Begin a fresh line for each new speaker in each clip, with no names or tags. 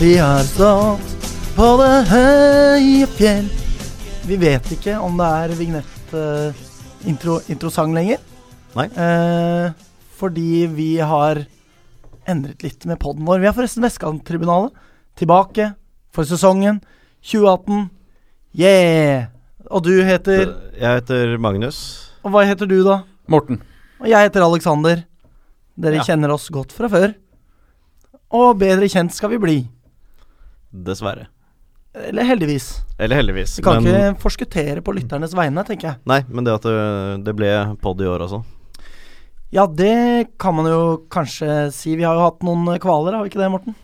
Vi har stått på det høye fjell Vi vet ikke om det er vignett-introsang lenger.
Nei.
Eh, fordi vi har endret litt med poden vår. Vi er forresten Vestkanttribunalet. Tilbake for sesongen 2018. Yeah! Og du heter
Jeg heter Magnus.
Og hva heter du, da?
Morten.
Og jeg heter Alexander. Dere
Ja.
kjenner oss godt fra før. Og bedre kjent skal vi bli.
Dessverre.
Eller heldigvis.
Eller heldigvis.
Vi kan
men,
ikke forskuttere på lytternes vegne, tenker jeg.
Nei, men det at øh, det, det ble pod i år også.
Ja, det kan man jo kanskje si. Vi har jo hatt noen eh, kvaler, har vi ikke det, Morten?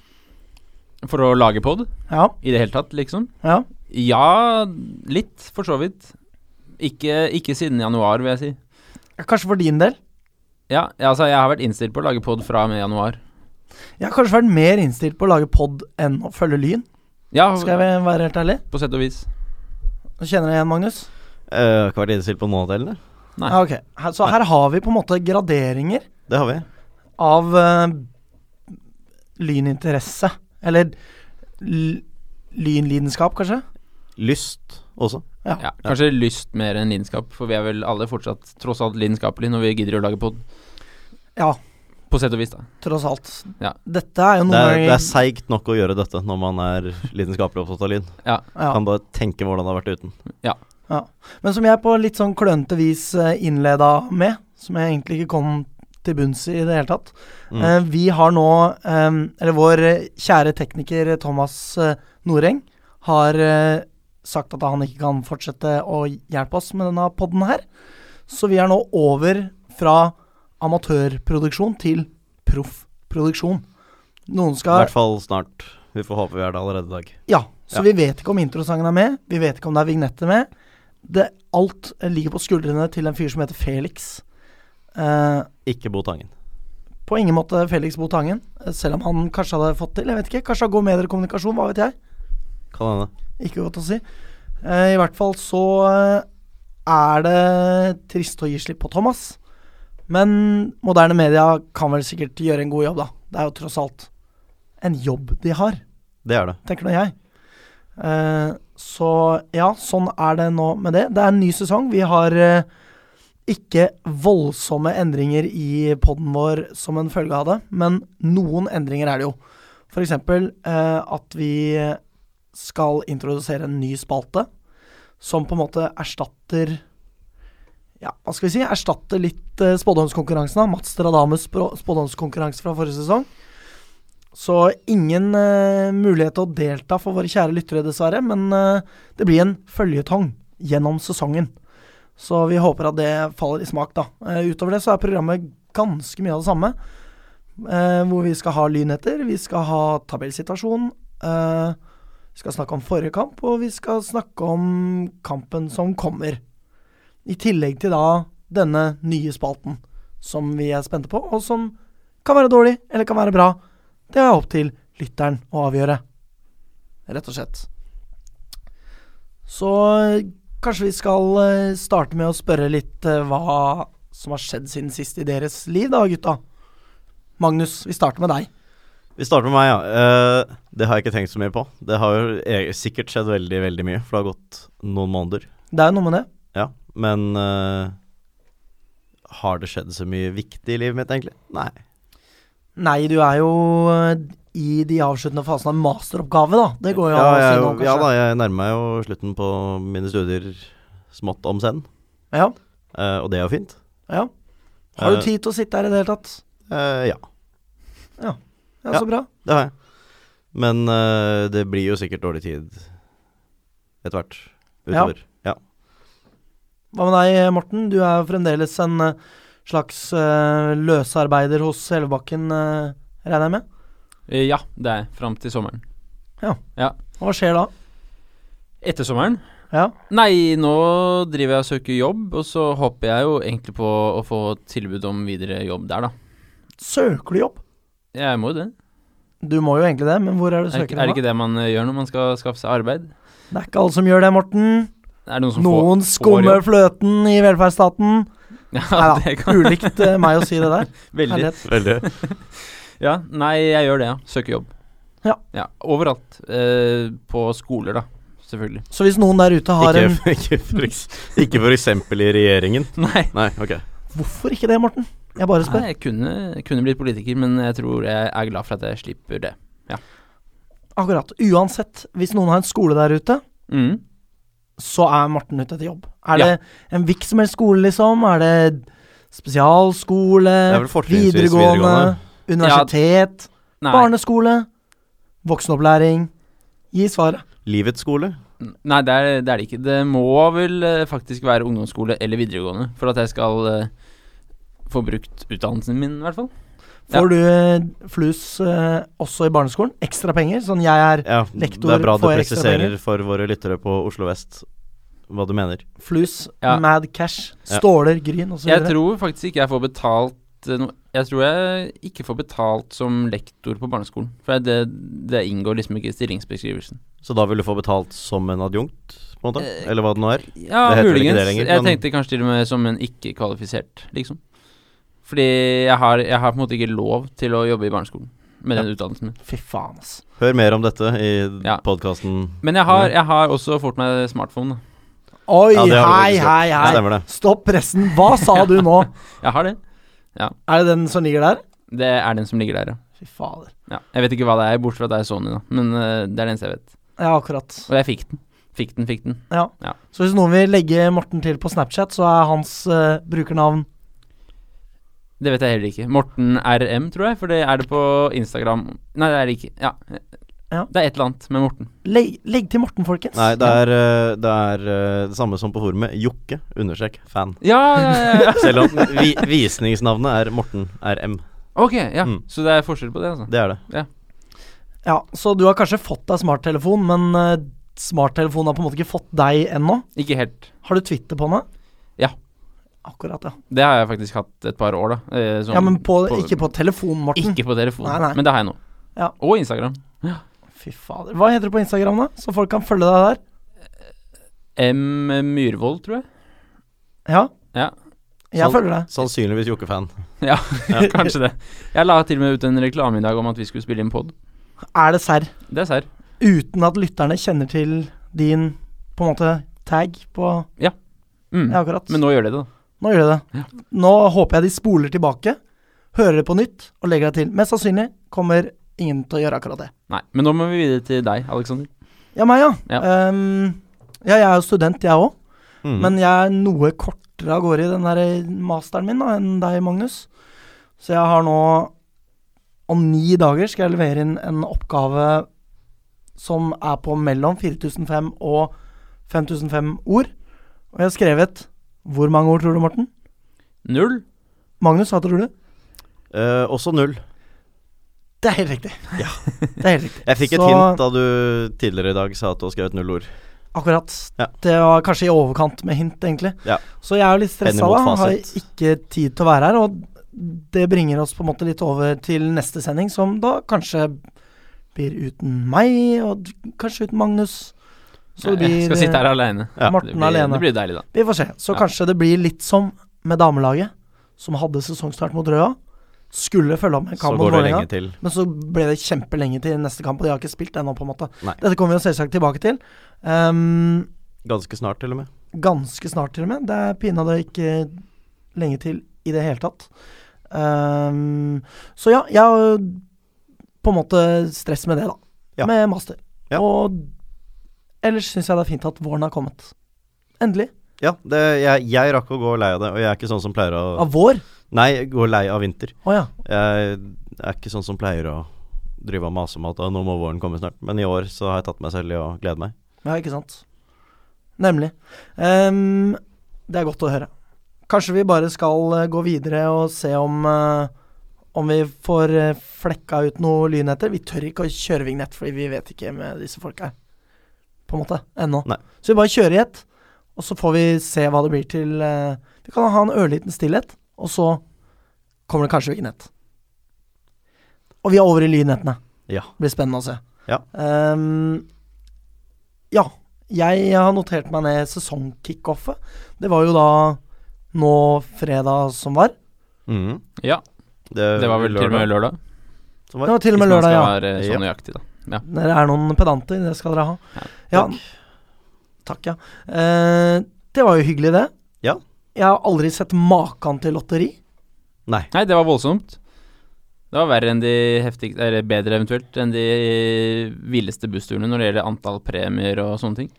For å lage pod
Ja.
i det hele tatt, liksom?
ja.
Ja, litt, for så vidt. Ikke, ikke siden januar, vil jeg si.
Kanskje for din del.
Ja, ja, altså, jeg har vært innstilt på å lage pod fra og med januar.
Jeg har kanskje vært mer innstilt på å lage pod enn å følge Lyn,
Ja,
skal jeg være helt ærlig.
på sett og vis.
Nå Kjenner jeg igjen Magnus?
Eh, Har ikke vært innstilt på noe av delene.
Nei.
Ja, ok. Her, så her har vi på en måte graderinger
Det har vi.
av uh, lyninteresse. Eller l- lynlidenskap, kanskje?
Lyst også.
Ja, kanskje lyst mer enn lidenskap, for vi er vel alle fortsatt tross alt lidenskapelige når vi gidder å lage pod.
Ja,
På sett og vis, da.
tross alt.
Ja.
Dette er jo noen
Det er, det
ganger-
er seigt nok å gjøre dette når man er lidenskapelig opptatt av lyd.
Ja.
ja.
Kan bare tenke hvordan det har vært uten.
Men som jeg på litt sånn klønete vis eh, innleda med, som jeg egentlig ikke kom til bunns i i det hele tatt.
Mm.
Eh, Vi har nå, eh, eller vår eh, kjære tekniker Thomas eh, Noreng har eh, sagt at han ikke kan fortsette å hjelpe oss med denne podden her. Så vi er nå over fra amatørproduksjon til proffproduksjon. Noen
I
skal
hvert fall snart. Vi får håpe vi er det allerede i dag.
Ja, så
Ja.
vi vet ikke om introsangen er med. Vi vet ikke om det er vignetter med. Det, alt eh, ligger på skuldrene til en fyr som heter Felix. Eh,
Ikke Bo Tangen.
på ingen måte Felix Botangen, eh, selv om han kanskje hadde fått til. Jeg vet ikke, Kanskje han går med dere i kommunikasjon, hva vet jeg.
Kan hende.
Ikke godt å si. Eh, I hvert fall så eh, er det trist å gi slipp på Thomas. Men moderne media kan vel sikkert gjøre en god jobb, da. Det er jo tross alt en jobb de har.
Det er det.
tenker nå jeg. Eh, så ja, sånn er det nå med det. Det er en ny sesong. Vi har eh, ikke voldsomme endringer i poden vår som en følge av det, men noen endringer er det jo. F.eks. Eh, at vi skal introdusere en ny spalte som på en måte erstatter ja, hva skal vi si? Erstatter litt eh, spådomskonkurransen. da. Mats Stradamus spå- spådomskonkurranse fra forrige sesong. Så ingen eh, mulighet til å delta for våre kjære lyttere, dessverre. Men eh, det blir en føljetong gjennom sesongen. Så vi håper at det faller i smak, da. Eh, utover det så er programmet ganske mye av det samme. eh, hvor vi skal ha lynheter, vi skal ha tabellsituasjon. eh, vi skal snakke om forrige kamp, og vi skal snakke om kampen som kommer. I tillegg til da denne nye spalten, som vi er spente på, og som kan være dårlig, eller kan være bra. Det er opp til lytteren å avgjøre. Rett og slett. Så eh, kanskje vi skal eh, starte med å spørre litt eh, hva som har skjedd siden sist i deres liv, da, gutta. Magnus, vi starter med deg.
Vi starter med meg, ja. Eh, det har jeg ikke tenkt så mye på. Det har jo e- sikkert skjedd veldig, veldig mye, for det har gått noen måneder.
Det er jo noe med det.
Ja, men eh, har det skjedd så mye viktig i livet mitt, egentlig? Nei.
Nei, du er jo eh, i de avsluttende fasene av en masteroppgave, da. Det går jo
ja,
an å
jeg,
si
er
nå,
jo- ja da,
kanskje.
jeg nærmer meg jo slutten på mine studier smått om senn,
Ja, ja,
eh, og det er jo fint.
Har du
Eh,
tid til å sitte her i det hele tatt?
Eh, ja,
Ja,
ja.
så bra.
det har jeg. Men eh, det blir jo sikkert dårlig tid etter hvert
Ja.
utover. Ja.
Hva med deg, Morten? Du er jo fremdeles en eh, slags eh, løsarbeider hos Hellebakken, eh, regner jeg med?
Eh, Ja, det er fram til sommeren.
Hva skjer da?
Etter sommeren
Ja,
Nei, nå driver jeg og søker jobb, og så håper jeg jo egentlig på å få tilbud om videre jobb der, da.
Søker du jobb?
Jeg må jo det.
Du må jo egentlig det, men hvor er det du
Er, det ikke-
søker
er det
hen?
ikke det man eh, gjør når man skal skaffe seg arbeid?
da? Det er ikke alle som gjør det, Morten.
Er det noen som
Noen skummer fløten i velferdsstaten.
får
Nei
Ja, det
da,
kan
ulikt eh, meg å si det der.
Veldig.
Herlighet.
Veldig.
Ja, nei, jeg gjør det, ja. Søker jobb.
Ja.
Overalt. Eh, på skoler, da. Selvfølgelig.
Så hvis noen der ute har en
Ikke, ikke, for, eks- ikke for eksempel i regjeringen.
Nei.
Nei, ok.
Hvorfor ikke det, Morten? Jeg bare spør.
Nei, jeg kunne, jeg kunne blitt politiker, men jeg tror jeg er glad for at jeg slipper det.
Akkurat. Uansett, hvis noen har en skole der ute,
Mm.
så er Morten ute etter jobb. Er
Ja.
det en hvilken som helst skole, liksom? Er det spesialskole?
Det er vel fortrinnsvis
Eh, Videregående?
videregående.
Universitet?
Nei.
Barneskole? Voksenopplæring? Gi svaret.
Livets skole.
Nei, det er, det er det ikke. Det må vel eh, faktisk være ungdomsskole eller videregående for at jeg skal eh, få brukt utdannelsen min, i hvert fall. Ja.
Får du eh, flus eh, også i barneskolen? Ekstra penger? Sånn jeg er
Ja,
Lektor
det er bra du
får ekstra
presiserer for våre lyttere på Oslo vest hva du mener.
flus,
Ja.
mad cash,
Ja.
ståler, gryn osv.
Jeg tror faktisk ikke jeg får betalt eh, noe Jeg tror jeg ikke får betalt som lektor på barneskolen. For det, det inngår liksom ikke i stillingsbeskrivelsen.
Så da vil du få betalt som en adjunkt, på en måte?
Eh,
Eller hva det nå er?
Ja,
Det heter vel ikke
muligens.
det lenger,
jeg
men-
tenkte kanskje til og med som en ikke-kvalifisert, liksom. Fordi jeg har, jeg har på en måte ikke lov til å jobbe i barneskolen med den utdannelsen min.
Fy faen, ass.
Hør mer om dette i
Ja.
podkasten.
Men jeg har, jeg har også fått meg smartphone. da.
Oi,
Ja, det har du
hei,
faktisk
hei, hei.
Stemmer det.
Stopp pressen. Hva sa du nå?
Jeg har det.
Er det den som ligger der?
Det er den som ligger der, ja.
Fy fader.
Ja, jeg vet ikke hva det er, bortsett fra at det er Sony, da. Men eh, det er det eneste jeg vet.
Ja, akkurat.
Og jeg fikk den. Fikk den, fikk den.
Ja.
Ja.
Så hvis noen vil legge Morten til på Snapchat, så er hans eh, brukernavn
Det vet jeg heller ikke. Morten RM, tror jeg, for det er det på Instagram. Nei, det er det ikke. Ja.
Ja.
Det er et eller annet med Morten.
Legg, legg til Morten, folkens.
Nei, det er, eh, det er eh, det samme som på forumet. Jokke, understrek, fan.
Ja, ja, ja. ja.
Selv om vi, visningsnavnet er Morten RM.
Ok, ja.
Mm.
Så det er forskjell på det, altså.
Det er det.
Ja, Så du har kanskje fått deg smarttelefon, men eh, smarttelefonen har på en måte ikke fått deg ennå.
Ikke helt.
Har du Twitter på meg?
Ja.
Akkurat, ja.
Det har jeg faktisk hatt et par år, da. eh, som-
ja, Men på,
på-
ikke på telefonen, Morten.
Ikke på telefon,
Nei, nei.
men det har jeg nå.
Ja.
Og Instagram.
Fy fader. Hva heter du på Instagram, da? Så folk kan følge deg der?
M. Myhrvold, tror jeg.
Ja,
Ja,
jeg
Sånn.
følger deg.
Sannsynligvis Jokke-fan.
kanskje det. Jeg la til og med ut en reklame i dag om at vi skulle spille inn pod.
Er det serr?
Det er serr.
Uten at lytterne kjenner til din på en måte tag på
Mm.
Ja, akkurat.
Men nå gjør det det, da.
Nå gjør de det.
Ja.
Nå håper jeg de spoler tilbake, hører det på nytt og legger deg til. Mest sannsynlig kommer ingen til å gjøre akkurat det.
Nei, men nå må vi videre til deg, Alexander.
Ja, meg, ja.
Ja.
Ehm, ja, jeg er jo student, jeg òg.
Mm.
Men jeg er noe kortere av gårde i den der eh, masteren min da, enn deg, Magnus. Så jeg har nå Om ni dager skal jeg levere inn en oppgave som er på mellom 4005 og 5005 ord. Og jeg har skrevet Hvor mange ord tror du, Morten?
Null.
Magnus, hva tror du?
Eh, også null.
Det er helt riktig. Det er helt riktig.
Jeg fikk et
Så-
hint da du tidligere i dag sa at du har skrevet null ord.
Akkurat.
Ja.
Det var kanskje i overkant med hint, egentlig.
Ja.
Så jeg er jo litt stressa,
Henimot
da. Har
fasit.
ikke tid til å være her. Og det bringer oss på en måte litt over til neste sending, som da kanskje blir uten meg, og d- kanskje uten Magnus. Så det blir eh,
Jeg skal sitte her alene.
Ja.
Morten
det blir,
alene.
Det blir deilig, da.
Vi får se. Så
Ja.
kanskje det blir litt som med damelaget, som hadde sesongstart mot Røa. Skulle følge opp med en
Så
kamp mot
går det
Vålerenga.
lenge til.
Men så ble det kjempelenge til neste kamp, og de har ikke spilt ennå, på en måte.
Nei.
Dette kommer vi jo selvsagt tilbake til. Ehm,
Ganske snart, til og med.
ganske snart, til og med. Det er pinadø ikke lenge til i det hele tatt. Ehm, så ja, jeg har jo på en måte stress med det, da.
Ja.
Med master.
Ja.
Og ellers syns jeg det er fint at våren har kommet. Endelig.
Ja, det, jeg, jeg rakk å gå lei av det, og jeg er ikke sånn som pleier å
Av vår?
Nei, gå lei av vinter.
Å ja.
Jeg er ikke sånn som pleier å drive og mase om at «Å, nå må våren komme snart. Men i år så har jeg tatt meg selv i å glede meg.
Ja, ikke sant. Nemlig. Ehm, det er godt å høre. Kanskje vi bare skal eh, gå videre og se om eh, om vi får eh, flekka ut noe lynheter. Vi tør ikke å kjøre vignett, fordi vi vet ikke med disse folka her. På en måte. Ennå.
Nei.
Så vi bare kjører i ett, og så får vi se hva det blir til eh, Vi kan ha en ørliten stillhet, og så kommer det kanskje vignett. Og vi er over i lynhetene.
Ja.
Blir spennende å se.
Ja.
Ehm, ja. Jeg har notert meg ned sesongkickoffet. Det var jo da nå fredag som var.
Mhm.
Ja, det var vel til og med lørdag.
som
Det
var.
var til og med
hvis man
lørdag,
skal
ja.
Være så
Ja.
nøyaktig, da. Ja.
Dere er noen pedanter, det skal dere ha. Ja,
takk.
takk, ja. Eh, det var jo hyggelig, det.
Ja.
Jeg har aldri sett maken til lotteri.
Nei.
Nei, det var voldsomt. Det var verre enn de heftig, eller bedre eventuelt enn de villeste bussturene når det gjelder antall premier og sånne ting.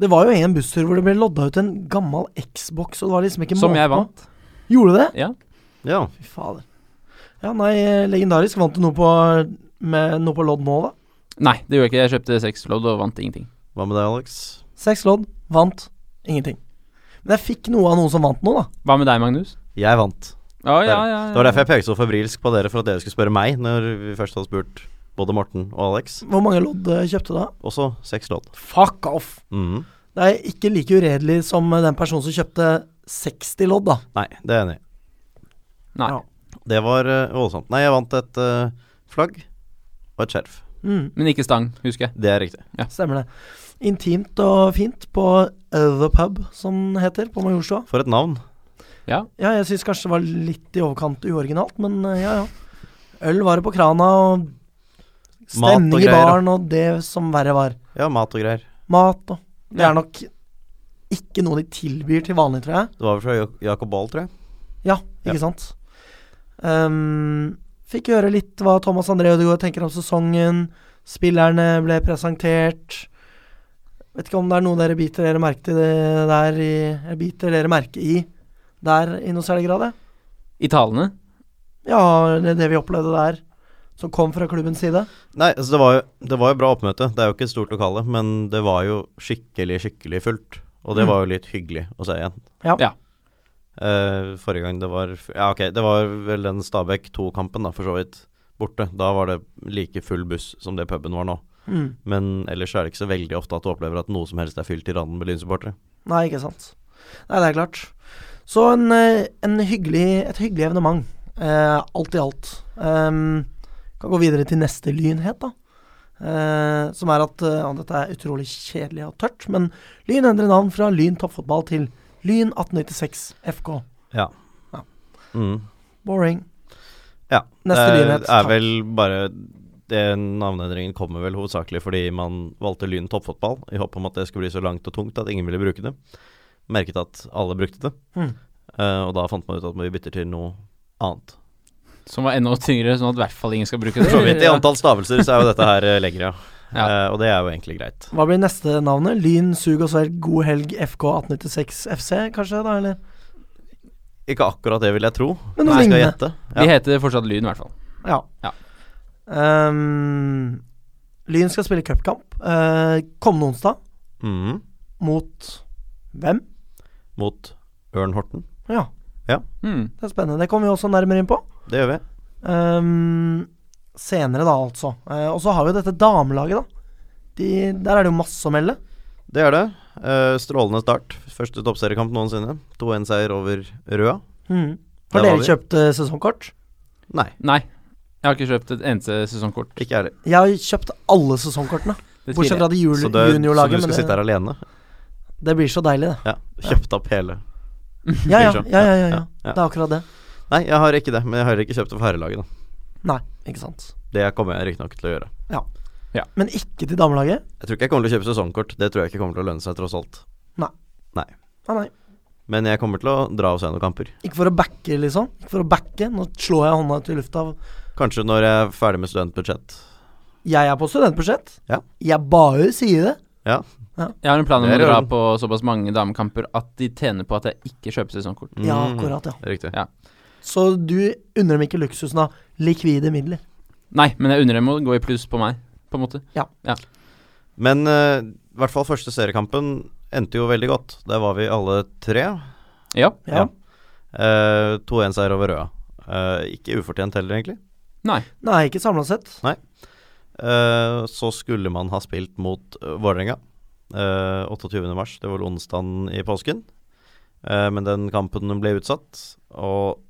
Det var jo en busstur hvor det ble lodda ut en gammel Xbox, og det var liksom ikke
Som
måte
jeg
på.
vant.
Gjorde du det?
Ja.
Ja.
Fy fader. Ja, nei, eh, legendarisk. Vant du noe på, med, noe på lodd nå, da?
Nei, det gjorde jeg ikke. Jeg kjøpte seks lodd og vant ingenting.
Hva med deg, Alex?
Seks lodd, vant, ingenting. Men jeg fikk noe av noen som vant noe, da.
Hva med deg, Magnus?
Jeg vant.
Å, ja, ja, ja.
Det var derfor jeg pekte så febrilsk på dere, for at dere skulle spørre meg når vi først hadde spurt både Morten og Alex.
Hvor mange lodd eh, kjøpte du da?
Også seks lodd.
Fuck off!
Mhm.
Det er ikke like uredelig som eh, den personen som kjøpte 60 lodd, da.
Nei, det er jeg enig i.
Nei.
Ja.
Det var eh, voldsomt. Nei, jeg vant et eh, flagg og et skjerf.
Mm,
Men ikke stang, husker jeg.
Det er riktig.
stemmer det. Intimt og fint på eh, The Pub, som den heter, på Majorstua.
For et navn.
Ja, jeg syns kanskje det var litt i overkant uoriginalt, men eh, ja, ja. Øl var det på krana, og
Mat og
stemning i
greier, ja.
baren, og det som verre var.
Ja, mat og greier.
Mat og Det er nok ikke noe de tilbyr til vanlig, tror jeg.
Det var vel fra Jak- Jacob Bahl, tror jeg.
Ja, ikke
Ja.
sant? Ehm, fikk høre litt hva Thomas André Ødegaard tenker om sesongen. Spillerne ble presentert. Vet ikke om det er noe dere biter dere merke til det der i eller Biter dere merke i der i noe særlig grad? jeg?
I talene.
Ja, det, det vi opplevde der, som kom fra klubbens side.
Nei, altså det var, jo, det var jo bra oppmøte. Det er jo ikke et stort lokale, men det var jo skikkelig, skikkelig fullt. Og det
Mm.
var jo litt hyggelig å se igjen.
Ja.
Ja.
Eh, forrige gang det var f- Ja, ok, det var vel den Stabæk 2-kampen, da, for så vidt. Borte. Da var det like full buss som det puben var nå.
Mm.
Men ellers er det ikke så veldig ofte at du opplever at noe som helst er fylt i randen med lynsupportere.
Nei, ikke sant. Nei, det er klart. Så en, eh, en hyggelig, et hyggelig evenement. Eh, alt i alt. Ehm, kan gå videre til neste lynhet, da. Eh, som er at eh, ja, Dette er utrolig kjedelig og tørt, men Lyn endrer navn fra Lyn toppfotball til Lyn 1896 FK.
Ja.
Ja.
Mm.
Boring.
Ja.
Neste
det
nyhet,
Eh, er
takk.
vel bare Den navneendringen kommer vel hovedsakelig fordi man valgte Lyn toppfotball i håp om at det skulle bli så langt og tungt at ingen ville bruke det. Merket at alle brukte det,
Mm.
eh, og da fant man ut at vi bytter til noe annet.
Som var enda tyngre, sånn at i hvert fall ingen skal bruke det.
For så vidt i antall stavelser så er jo dette her eh, lengre, ja.
Ja.
Eh, og det er jo egentlig greit.
Hva blir neste navnet? Lyn sug og svelg god helg FK 1896 FC, kanskje? da, eller?
Ikke akkurat det vil jeg tro.
Men noe
Nei, skal jeg
lignende.
gjette.
De
Ja.
heter fortsatt Lyn, i hvert fall.
Ja.
Ja.
Ehm, Lyn skal spille cupkamp eh, kommende onsdag
Mhm.
mot hvem?
Mot Ørn Horten.
Ja,
Hmm.
det er spennende. Det kommer vi også nærmere inn på.
Det gjør vi.
Ehm, senere, da, altså. Eh, og så har vi jo dette damelaget, da. De, der er det jo masse å melde.
Det er det. Eh, strålende start. Første toppseriekamp noensinne. 2-1-seier over Røa.
Mhm. Har
Mm. Der var
dere
vi.
kjøpt eh, sesongkort?
Nei,
Nei, jeg har ikke kjøpt et eneste sesongkort.
ikke jeg heller.
Jeg har kjøpt alle sesongkortene,
Det
bortsett
sier
fra det jul-
Så, det, så du
juniorlaget.
skal
Men
sitte
det,
her alene?
det blir så deilig, det.
Ja. Kjøpte opp hele.
Ja ja, ja,
Blir så.
ja, ja, ja,
Ja.
Det er akkurat det.
Nei, jeg har ikke det, men jeg har ikke kjøpt det for herrelaget. da.
Nei, ikke sant.
Det kommer jeg riktignok til å gjøre.
Men ikke til damelaget.
Jeg tror ikke jeg kommer til å kjøpe sesongkort, det tror jeg ikke kommer til å lønne seg, tross alt.
Ah, nei.
Men jeg kommer til å dra og se noen kamper.
Ikke for å backe, liksom. Ikke for å backe. Nå slår jeg hånda ut i lufta.
Kanskje når jeg er ferdig med studentbudsjett.
Jeg er på studentbudsjett.
Ja.
Jeg bare sier det.
Jeg har en plan om
Det
å
er
dra
jo-
på såpass mange damekamper at de tjener på at jeg ikke kjøper sesongkort.
Mm,
Ja, akkurat, ja.
Riktig.
Ja.
Så du unner dem ikke luksusen av likvide midler.
Nei, men jeg unner dem å gå i pluss på meg, på en måte.
Men eh, i hvert fall første seriekampen endte jo veldig godt. Der var vi alle tre.
Ja.
Ja.
Ja. Eh, 2-1-seier over Røa. Eh, ikke ufortjent heller, egentlig.
Nei.
Nei, ikke samla sett.
Eh, så skulle man ha spilt mot uh, Vålerenga eh, 28. mars, det var vel onsdagen i påsken. Eh, men den kampen ble utsatt, og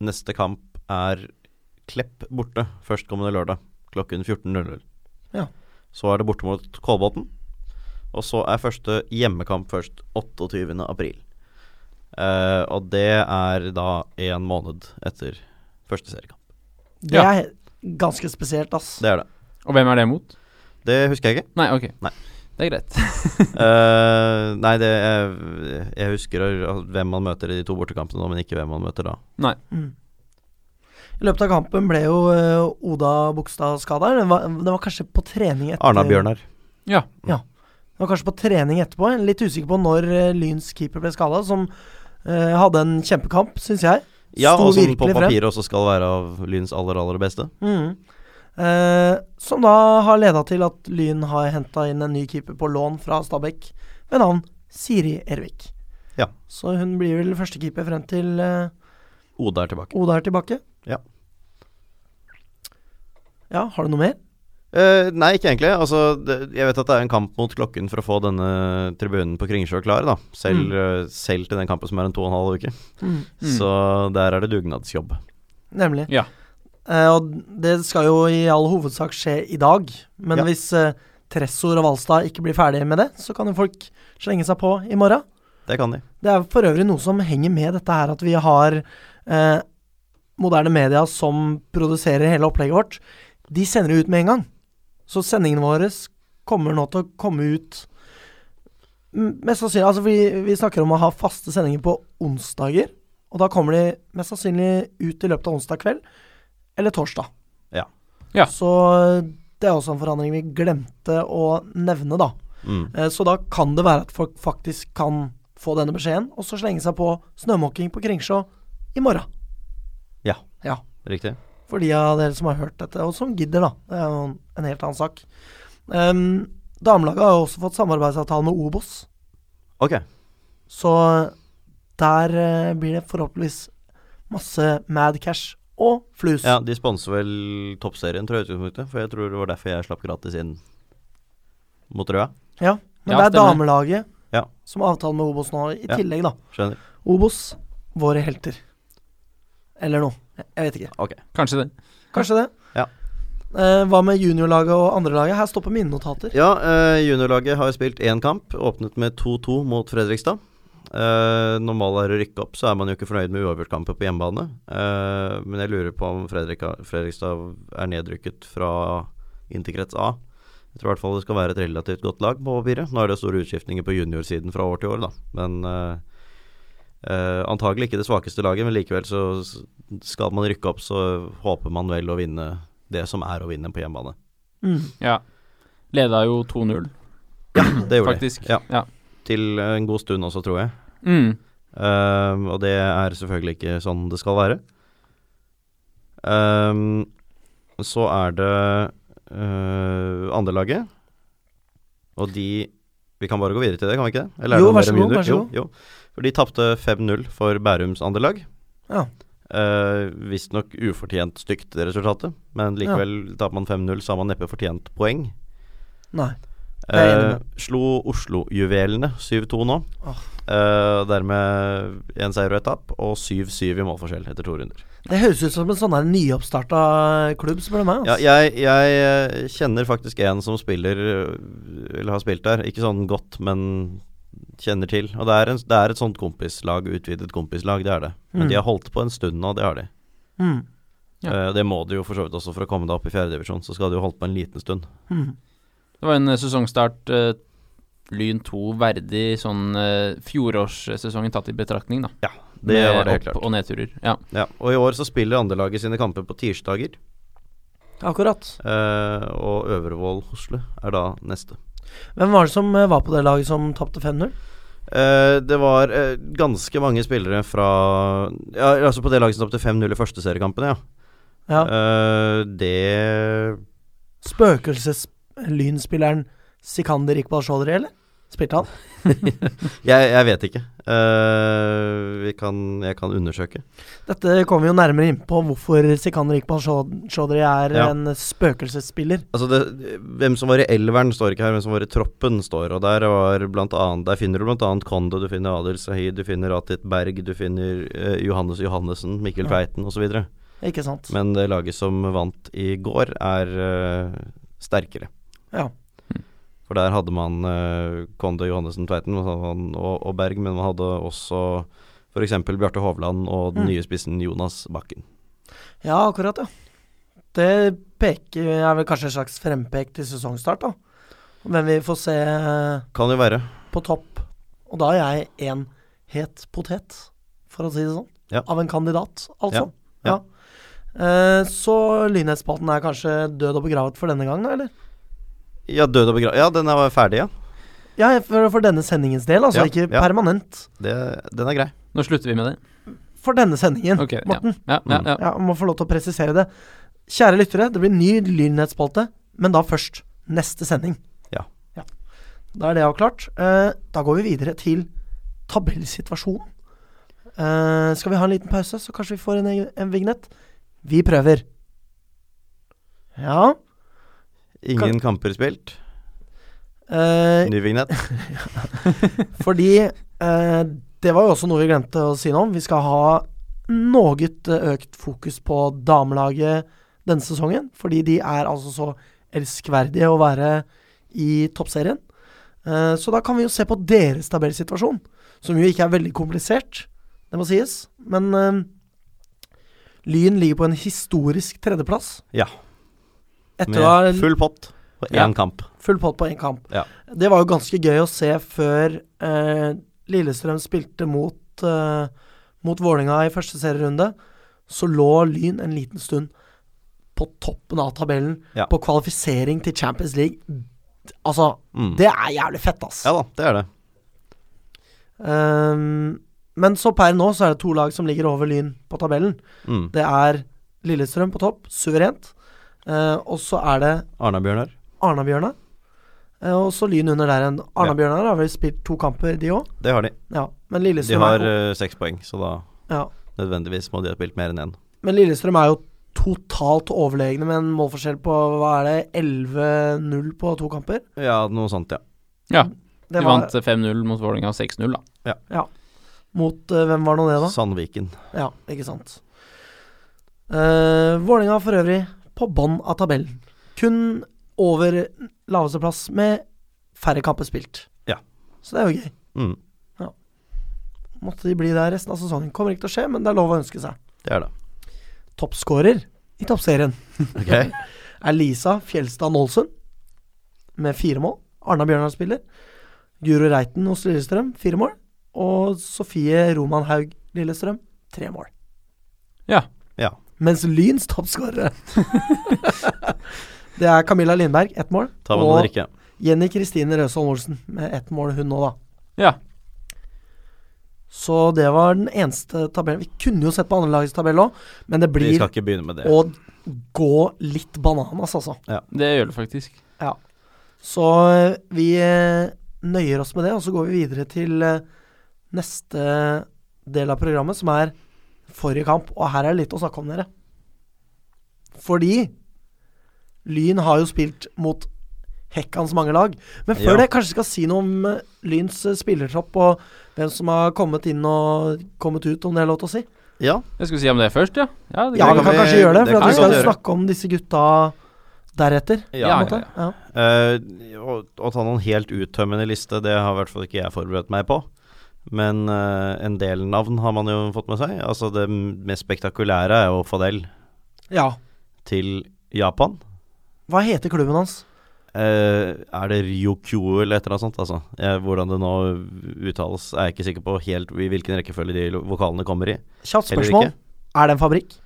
neste kamp er Klepp borte førstkommende lørdag klokken 14.00.
Ja.
Så er det borte mot Kolbotn, og så er første hjemmekamp først 28. april. Eh, og det er da én måned etter første seriekamp.
Det
Ja.
er ganske spesielt, ass.
Det er det.
Og hvem er det mot?
Det husker jeg ikke.
Nei, ok.
Nei.
Det er greit.
Eh, nei, det er, jeg husker hvem man møter i de to bortekampene nå, men ikke hvem man møter da.
Mm. I løpet av kampen ble jo eh, Oda Bogstad skada. Det, var- det var kanskje på trening etter
Arna-Bjørnar.
Ja.
Det var kanskje på trening etterpå. Jeg er Litt usikker på når eh, Lyns keeper ble skada, som eh, hadde en kjempekamp, syns jeg.
Ja,
Sto
og som på
virkelig frem.
papiret også skal være av Lyns aller, aller beste.
Mm. Eh, som da har leda til at Lyn har henta inn en ny keeper på lån fra Stabæk ved navn Siri Ervik.
Ja.
Så hun blir vel førstekeeper frem til eh,
Oda er tilbake.
Oda er tilbake.
Ja.
Ja, har du noe mer?
Eh, nei, ikke egentlig. Altså, det, jeg vet at det er en kamp mot klokken for å få denne tribunen på Kringsjå klar, da. Selv, eh, selv til den kampen som er en to og en halv uke.
Mm.
Mm.
Så der er det dugnadsjobb.
Nemlig.
Ja.
Eh, og det skal jo i all hovedsak skje i dag. Men
Ja.
hvis eh, Tressor og Valstad ikke blir ferdige med det, så kan jo folk slenge seg på i morgen.
Det kan de.
Det er for øvrig noe som henger med dette her, at vi har eh, moderne media som produserer hele opplegget vårt. De sender det ut med en gang. Så sendingene våre kommer nå til å komme ut M- Mest sannsynlig Altså, vi, vi snakker om å ha faste sendinger på onsdager. Og da kommer de mest sannsynlig ut i løpet av onsdag kveld eller torsdag.
Ja.
Ja.
Så eh, det er også en forandring vi glemte å nevne, da.
Mm.
Eh, Så da kan det være at folk faktisk kan få denne beskjeden, og så slenge seg på snømåking på Kringsjå i morgen.
Ja.
Ja.
Riktig.
For de av dere som har hørt dette, og som gidder, da. Det er jo en- en helt annen sak. Um, Damelaget har jo også fått samarbeidsavtale med Obos,
Ok.
så eh, der eh, blir det forhåpentligvis masse Mad Cash og Flus.
Ja, de sponser vel Toppserien, tror jeg, i utgangspunktet. For jeg tror det var derfor jeg slapp gratis inn mot Røa.
Ja, Men
Ja,
det er
stemmer.
damelaget
Ja.
som har avtale med Obos nå, i
Ja.
tillegg, da.
Skjønner.
Obos, våre helter. Eller noe. Jeg- Jeg vet ikke.
Ok.
Kanskje det.
Kanskje det.
Ja.
Eh, hva med juniorlaget og andrelaget? Her stopper mine notater.
Ja, eh, juniorlaget har spilt én kamp, åpnet med 2-2 mot Fredrikstad. Eh, når målet er å rykke opp, så er man jo ikke fornøyd med uavgjortkamper på hjemmebane. Eh, men jeg lurer på om Fredrika, Fredrikstad er nedrykket fra interkrets A. Jeg tror i hvert fall det skal være et relativt godt lag på papiret. Nå er det store utskiftninger på juniorsiden fra år til år, da. Men eh, eh, antagelig ikke det svakeste laget, men likevel så s- skal man rykke opp, så håper man vel å vinne det som er å vinne på hjemmebane.
Mm.
Ja. Leda jo 2-0,
Det gjorde
faktisk.
de. Ja. Til en god stund også, tror jeg.
Mm.
Ehm, og det er selvfølgelig ikke sånn det skal være. Ehm, så er det uh, andrelaget, og de Vi kan bare gå videre til det, kan vi ikke det? Eller er
Jo,
det noe
vær
mer
så
om
god,
junior?
vær så
Jo,
god.
jo. For de tapte 5-0 for Bærums andrelag.
Ja.
Uh, Visstnok ufortjent stygt, det resultatet. Men likevel, taper man 5-0, så har man neppe fortjent poeng.
Nei. Det er jeg enig
Eh, slo Oslo-juvelene 7-2 nå.
Åh.
Eh, dermed én seier og ett tap, og 7-7 i målforskjell etter to runder.
Det høres ut som en sånn her nyoppstarta klubb, spør du meg.
Ja,
Altså.
jeg, jeg eh, kjenner faktisk en som spiller eh, Eller har spilt der. Ikke sånn godt, men kjenner til. Og det er, en, det er et sånt kompislag, utvidet kompislag, det er det. Men
Mm.
de har holdt på en stund nå, det har de.
Mm.
Ja.
Eh, det må de jo for så vidt også for å komme deg opp i fjerdedivisjon. Så skal de jo holde på en liten stund.
Mm.
Det var en eh, sesongstart eh, Lyn 2 verdig sånn eh, fjorårssesongen tatt i betraktning, da.
Det
Med
var det helt
opp-
klart.
Og nedturer. Ja.
Ja, og i år så spiller andrelaget sine kamper på tirsdager.
Akkurat.
Eh, og Øvrevoll Hosle er da neste.
Hvem var det som eh, var på det laget som tapte 5-0?
Eh, det var eh, ganske mange spillere fra ja, Altså på det laget som tapte 5-0 i første seriekampen, ja.
Ja.
Eh, det
Spøkelseslynspilleren Sikander Iqbal Shodri, eller? Spilte han?
jeg, jeg vet ikke. Eh, vi kan, jeg kan undersøke.
Dette kommer vi jo nærmere inn på, hvorfor Sikander Iqbal Shodri er
Ja.
en spøkelsesspiller.
Altså det, hvem som var i elveren, står ikke her. Hvem som var i troppen, står. Og der var blant annet Der finner du blant annet Kondo, du finner Adil Sahid, du finner Atit Berg, du finner eh, Johannes Johannessen, Mikkel
Ja.
Tveiten osv. videre
Ikke sant?
Men det laget som vant i går, er eh, sterkere.
Ja.
Mm.
For der hadde man eh, Kondo Johannessen Tveiten og, sånn, og, og Berg, men man hadde også f.eks. Bjarte Hovland og den
Mm.
nye spissen Jonas Bakken.
Ja, akkurat, ja. Det peker, er vel kanskje en slags frempek til sesongstart, da. Hvem vi får se eh,
Kan jo være.
på topp. Og da er jeg en het potet, for å si det sånn.
Ja.
Av en kandidat, altså.
Ja, ja.
Eh, så Lynhetsspalten er kanskje død og begravet for denne gang, da, eller?
Ja, død og begra... Ja, den er ferdig, ja.
Ja, for, for denne sendingens del, altså.
Ja,
Ikke
ja.
permanent.
Det, den er grei.
Nå slutter vi med det.
For denne sendingen,
Ok, ja.
Morten.
Ja,
Mm.
ja, ja.
Ja, jeg må få lov til å presisere det. Kjære lyttere, det blir ny lynhetsspalte, men da først neste sending.
Ja.
Da er det avklart. Eh, da går vi videre til tabellsituasjonen. Eh, skal vi ha en liten pause, så kanskje vi får en, egen- en vignett? Vi prøver. Ja
Ingen kamper spilt.
eh,
Ny vignett.
Fordi eh, det var jo også noe vi glemte å si noe om. Vi skal ha noe eh, økt fokus på damelaget denne sesongen. Fordi de er altså så elskverdige å være i toppserien. Eh, så da kan vi jo se på deres tabellsituasjon, som jo ikke er veldig komplisert. Det må sies. Men eh, Lyn ligger på en historisk tredjeplass.
Ja.
Etter å ha
Med full pott og én
Ja.
kamp.
Full pott på én kamp.
Ja.
Det var jo ganske gøy å se før eh, Lillestrøm spilte mot, eh, mot Vålinga i første serierunde. Så lå Lyn en liten stund på toppen av tabellen
Ja.
på kvalifisering til Champions League. Altså,
Mm.
det er jævlig fett, ass.
Ja da, det er det.
Ehm, men så per nå så er det to lag som ligger over Lyn på tabellen.
Mm.
Det er Lillestrøm på topp, suverent. Eh, og så er det
Arna-Bjørnar.
Arna-Bjørnar. Eh, Og så Lyn under der igjen. Arna-Bjørnar har vel spilt to kamper, de òg?
Det har de.
Ja. Men
De
Lillestrøm,
har
er,
eh, seks poeng, så da
jo- ja.
nødvendigvis må de ha spilt mer enn én.
men Lillestrøm er jo totalt overlegne med en målforskjell på hva er det, 11-0 på to kamper.
Ja, noe sånt, ja.
ja.
Det
Vi
var
vant eh, 5-0 mot Vålerenga og 6-0, da.
mot eh, Hvem var nå det, da?
Sandviken.
Ja, ikke sant. Uh, Vålerenga for øvrig på bånn av tabellen. Kun over laveste plass med færre kamper spilt.
Ja.
Så det er jo gøy.
Mm.
Måtte de bli der resten av sesongen. Kommer ikke til å skje, men det er lov å ønske seg.
Det er det.
toppskårer i toppserien
Ok.
er Lisa Fjelstad Nålsund med fire mål. Arna Bjørnar spiller. Guro Reiten hos Lillestrøm fire mål. Og Sofie Roman Haug Lillestrøm tre mål.
Ja.
Ja.
Mens Lyns toppskårere Det er Camilla Lindberg, ett mål.
Ta med noe å
Og
drikke.
Jenny Kristine Røsholm Olsen med ett mål, hun nå, da.
Ja.
Så det var den eneste tabellen. Vi kunne jo sett på andrelagets tabell òg, men det
Vi
blir
skal ikke begynne med det.
å gå litt bananas, altså.
Det gjør det faktisk.
Så eh, vi eh, nøyer oss med det, og så går vi videre til eh, neste del av programmet, som er forrige kamp. Og her er det litt å snakke om, dere. Fordi Lyn har jo spilt mot Hekkans mange lag. Men før
Ja.
det, kanskje skal si noe om eh, Lyns eh, spillertropp og hvem som har kommet inn og kommet ut, om det er lov til å si?
Ja,
Jeg skulle si om det først, ja. Ja, det
Ja,
kan
vi
vi-
kan kanskje gjøre det,
det
for
kan
at
vi
vi skal
godt
jo
gjøre.
snakke om disse gutta deretter. på
ja,
Ja,
en
ja,
måte. Ja.
Eh, å, å ta noen helt uttømmende liste, det har i hvert fall ikke jeg forberedt meg på. Men eh, en del navn har man jo fått med seg. Altså Det m- mest spektakulære er jo Fadel
ja.
til Japan.
Hva heter klubben hans?
Eh, er det Ryokyo eller et eller annet sånt? Altså? Eh, hvordan det nå uttales, er jeg ikke sikker på helt i hvilken rekkefølge de lo- vokalene kommer i.
Kjapt
Eller
spørsmål.
ikke.
Er det en fabrikk?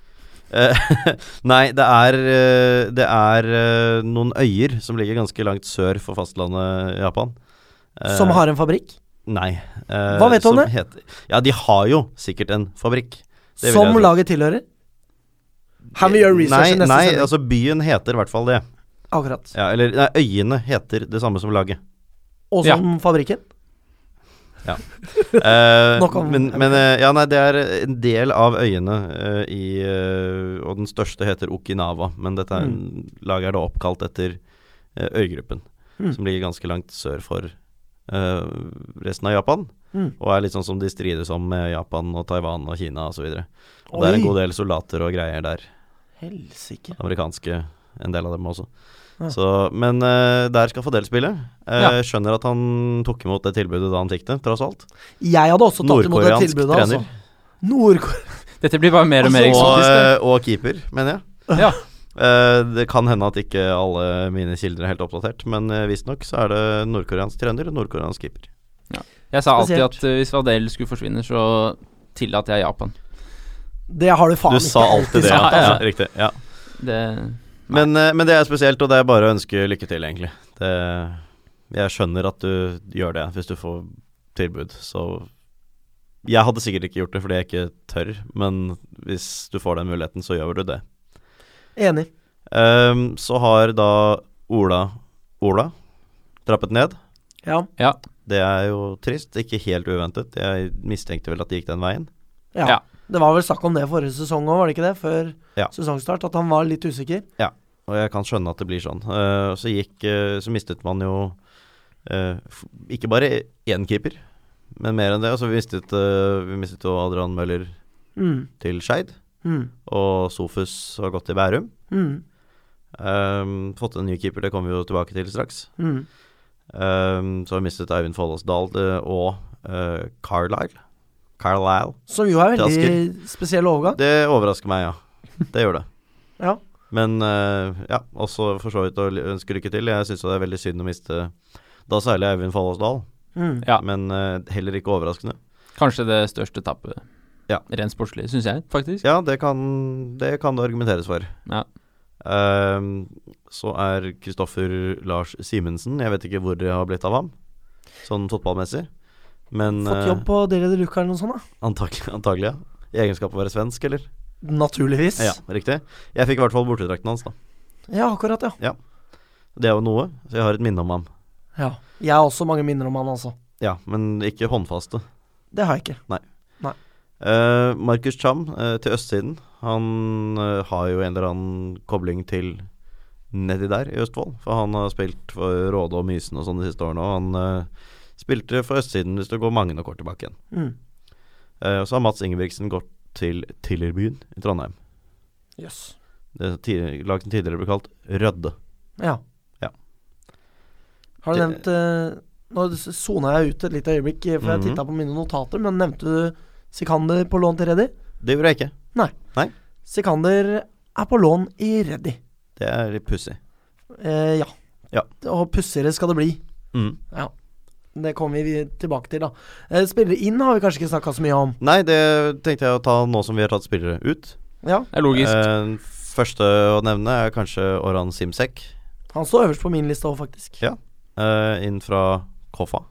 Eh, Nei, det er, eh, det er eh, noen øyer som ligger ganske langt sør for fastlandet Japan. Eh,
Som har en fabrikk?
Nei. eh,
Hva vet du om
som
det?
Heter, ja, de har jo sikkert en fabrikk. Det vil jeg
Som
tro.
laget tilhører? Her vi gjør research
nei,
i neste
nei,
sending.
altså byen heter i hvert fall det.
Akkurat.
Ja, eller nei, øyene heter det samme som laget.
Og
Ja.
som fabrikken?
Eh,
Nok om-
men men eh, ja, nei, det er en del av øyene eh, i eh, Og den største heter Okinawa, men dette er, laget er da oppkalt etter eh, øygruppen.
Mm.
Som ligger ganske langt sør for eh, resten av Japan.
Mm.
Og er litt sånn som de strides om med Japan og Taiwan og Kina osv. Og, og det er en
Oi.
god del soldater og greier der.
Helsike.
Amerikanske, en del av dem også.
Ja.
Så, men eh, der skal Fadel spille. Eh,
Ja.
Skjønner at han tok imot det tilbudet da han fikk det, tross alt.
Jeg hadde også tatt imot det
Nordkoreansk
tilbudet,
trener.
altså. Nordkoreansk
Dette blir bare mer og mer
Og,
eksotisk.
eh, og keeper, mener jeg.
det. Ja.
Eh, det kan hende at ikke alle mine kilder er helt oppdatert, men eh, visstnok så er det nordkoreansk trener og nordkoreansk keeper.
Jeg sa alltid
Spesielt.
at eh, hvis Vadel skulle forsvinne, så tillater jeg Japan.
Det har du faen
Du sa alltid det, ja.
sagt,
ja
altså.
riktig. Ja.
Det,
Men, eh, men det er spesielt, og det er bare å ønske lykke til, egentlig. Det, jeg skjønner at du gjør det hvis du får tilbud, så Jeg hadde sikkert ikke gjort det fordi jeg ikke tør, men hvis du får den muligheten, så gjør du det.
Enig.
Ehm, så har da Ola Ola trappet ned.
Ja.
ja.
Det er jo trist, ikke helt uventet. Jeg mistenkte vel at det gikk den veien.
ja.
Ja.
Det var vel snakk om det forrige sesong òg, var det ikke det? Før
Ja.
sesongstart, at han var litt usikker.
Og jeg kan skjønne at det blir sånn. Eh, så gikk eh, Så mistet man jo eh, f- ikke bare én keeper, men mer enn det. Altså vi mistet, eh, vi mistet jo Adrian Møller
Mm.
til Skeid,
Mm.
og Sofus har gått til Bærum.
Mm.
Ehm, fått en ny keeper, det kommer vi jo tilbake til straks.
Mm.
Ehm, så har vi mistet Eivind Follås Dahl eh, og eh, Carlisle. Carlisle.
Som jo er
Til
veldig spesiell overgang.
Det overrasker meg, ja. Det gjør det.
Ja.
Men eh, ja, også for så vidt å ønske lykke til. Jeg syns det er veldig synd å miste da særlig Eivind Follås Dahl,
Mm.
Ja.
men eh, heller ikke overraskende.
Kanskje det største tappet.
Ja.
Rent sportslig, syns jeg, faktisk.
Ja, det kan det, kan det argumenteres for.
Ja.
Ehm, så er Kristoffer Lars Simensen Jeg vet ikke hvor det har blitt av ham, sånn fotballmessig. Men
Fått jobb på Dere de Luca eller noe sånt, da?
eh, antakelig, antakelig, ja. I egenskap av å være svensk, eller?
Naturligvis.
Ja, riktig. Jeg fikk i hvert fall bortedrakten hans, da.
Ja, akkurat, ja.
Det er jo noe, så jeg har et minne om ham.
ja. Jeg har også mange minner om han, altså.
Ja, men ikke håndfaste.
Det har jeg ikke.
Eh, Markus Cham eh, til østsiden. Han eh, har jo en eller annen kobling til nedi der i Østfold. For han har spilt for Råde og Mysen og sånn de siste årene. Og han eh, spilte for østsiden hvis du går mange nok år tilbake igjen.
Mm.
Eh, og så har Mats Ingebrigtsen gått til Tillerbyen i Trondheim.
Yes.
Det ti- lag som tidligere ble kalt Rødde.
Ja.
Ja.
Har du
Det-
nevnt eh, Nå sona jeg ut et lite øyeblikk, eh, for jeg
Mhm.
titta på mine notater, men nevnte du Sikander på lån til Reddy?
Det gjorde jeg ikke.
Sikander er på lån i Reddy.
Det er litt pussig.
Eh, ja.
Ja.
Og pussigere skal det bli.
Mm.
Det kommer vi tilbake til, da. Eh, spillere inn har vi kanskje ikke snakka så mye om.
Nei, det tenkte jeg å ta nå som vi har tatt spillere ut.
Ja,
Det er logisk.
Eh, første å nevne er kanskje Oran Simsek.
Han står øverst på min liste òg, faktisk.
Ja. eh, inn fra Koffa.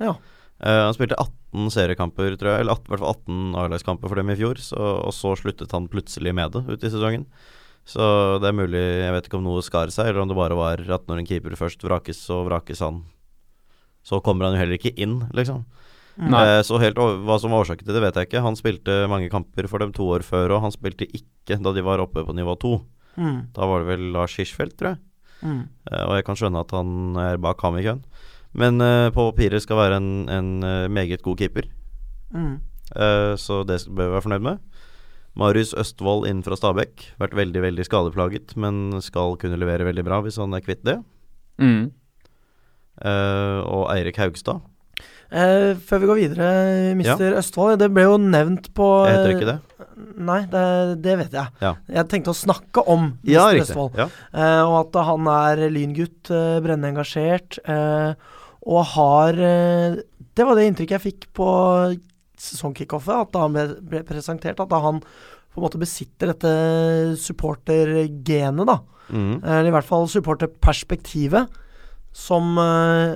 Ja.
Eh, han spilte 18 seriekamper, tror jeg, eller 18, i hvert fall 18 A-lagskamper for dem i fjor, så, og så sluttet han plutselig med det ute i sesongen. Så det er mulig, jeg vet ikke om noe skar seg, eller om det bare var at når en keeper først vrakes, så vrakes han. Så kommer han jo heller ikke inn, liksom.
Nei.
Eh, så helt over, hva som var årsaken til det, vet jeg ikke. Han spilte mange kamper for dem to år før, og han spilte ikke da de var oppe på nivå to.
Mm,
Da var det vel Lars Hirschfeldt, tror jeg.
mm.
Eh, Og jeg kan skjønne at han er bak ham i køen. Men eh, på papiret skal være en, en eh, meget god keeper,
Mm.
Eh, så det s- bør vi være fornøyd med. Marius Østvold inn fra Stabæk. Vært veldig veldig skadeplaget, men skal kunne levere veldig bra hvis han er kvitt det.
Mm.
Eh, og Eirik Haugstad.
Eh, før vi går videre, mister Østfold. Det ble jo nevnt på
Jeg heter ikke det?
Nei, det, det vet jeg.
Ja.
Jeg tenkte å snakke om mister
Ja, riktig.
Østfold.
Ja.
Eh, og at han er lyngutt, eh, brennende engasjert. Eh, og har eh, Det var det inntrykket jeg fikk på sesongkickoffet, at da han ble, ble presentert. At da han på en måte besitter dette supportergenet, da.
Mhm.
Eh, Eller i hvert fall supporterperspektivet, som eh,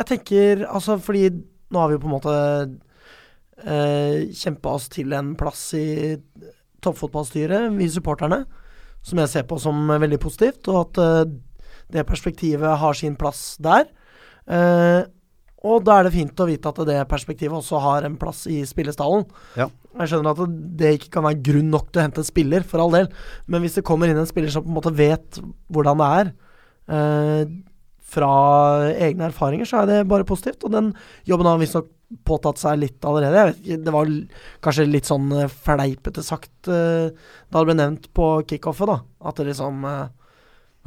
jeg tenker Altså, fordi nå har vi jo på en måte uh, kjempa oss til en plass i toppfotballstyret, vi supporterne, som jeg ser på som veldig positivt, og at eh, det perspektivet har sin plass der. Eh, og da er det fint å vite at det perspektivet også har en plass i spillestallen.
Ja.
Jeg skjønner at det ikke kan være grunn nok til å hente en spiller, for all del. Men hvis det kommer inn en spiller som på en måte vet hvordan det er, eh, fra egne erfaringer, så er det bare positivt. Og den jobben har han visstnok påtatt seg litt allerede. Jeg vet ikke, det var l- kanskje litt sånn eh, fleipete sagt eh, da det ble nevnt på kickoffet, da. At det liksom eh,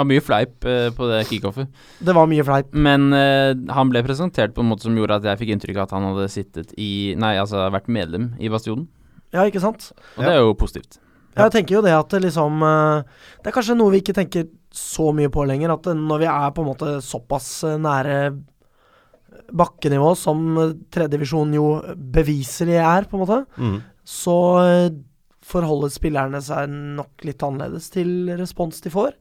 Var mye fleip eh, på det kickoffet.
Det var mye fleip.
Men eh, han ble presentert på en måte som gjorde at jeg fikk inntrykk av at han hadde sittet i Nei, altså vært medlem i Bastionen.
Ja, ikke sant?
Og det er jo positivt.
Ja.
Jeg tenker jo det at det liksom eh, Det er kanskje noe vi ikke tenker så mye på lenger. At eh, når vi er på en måte såpass eh, nære bakkenivå som eh, tredjedivisjon jo beviselig er, på en måte,
Mm.
så eh, forholder spillerne seg nok litt annerledes til respons de får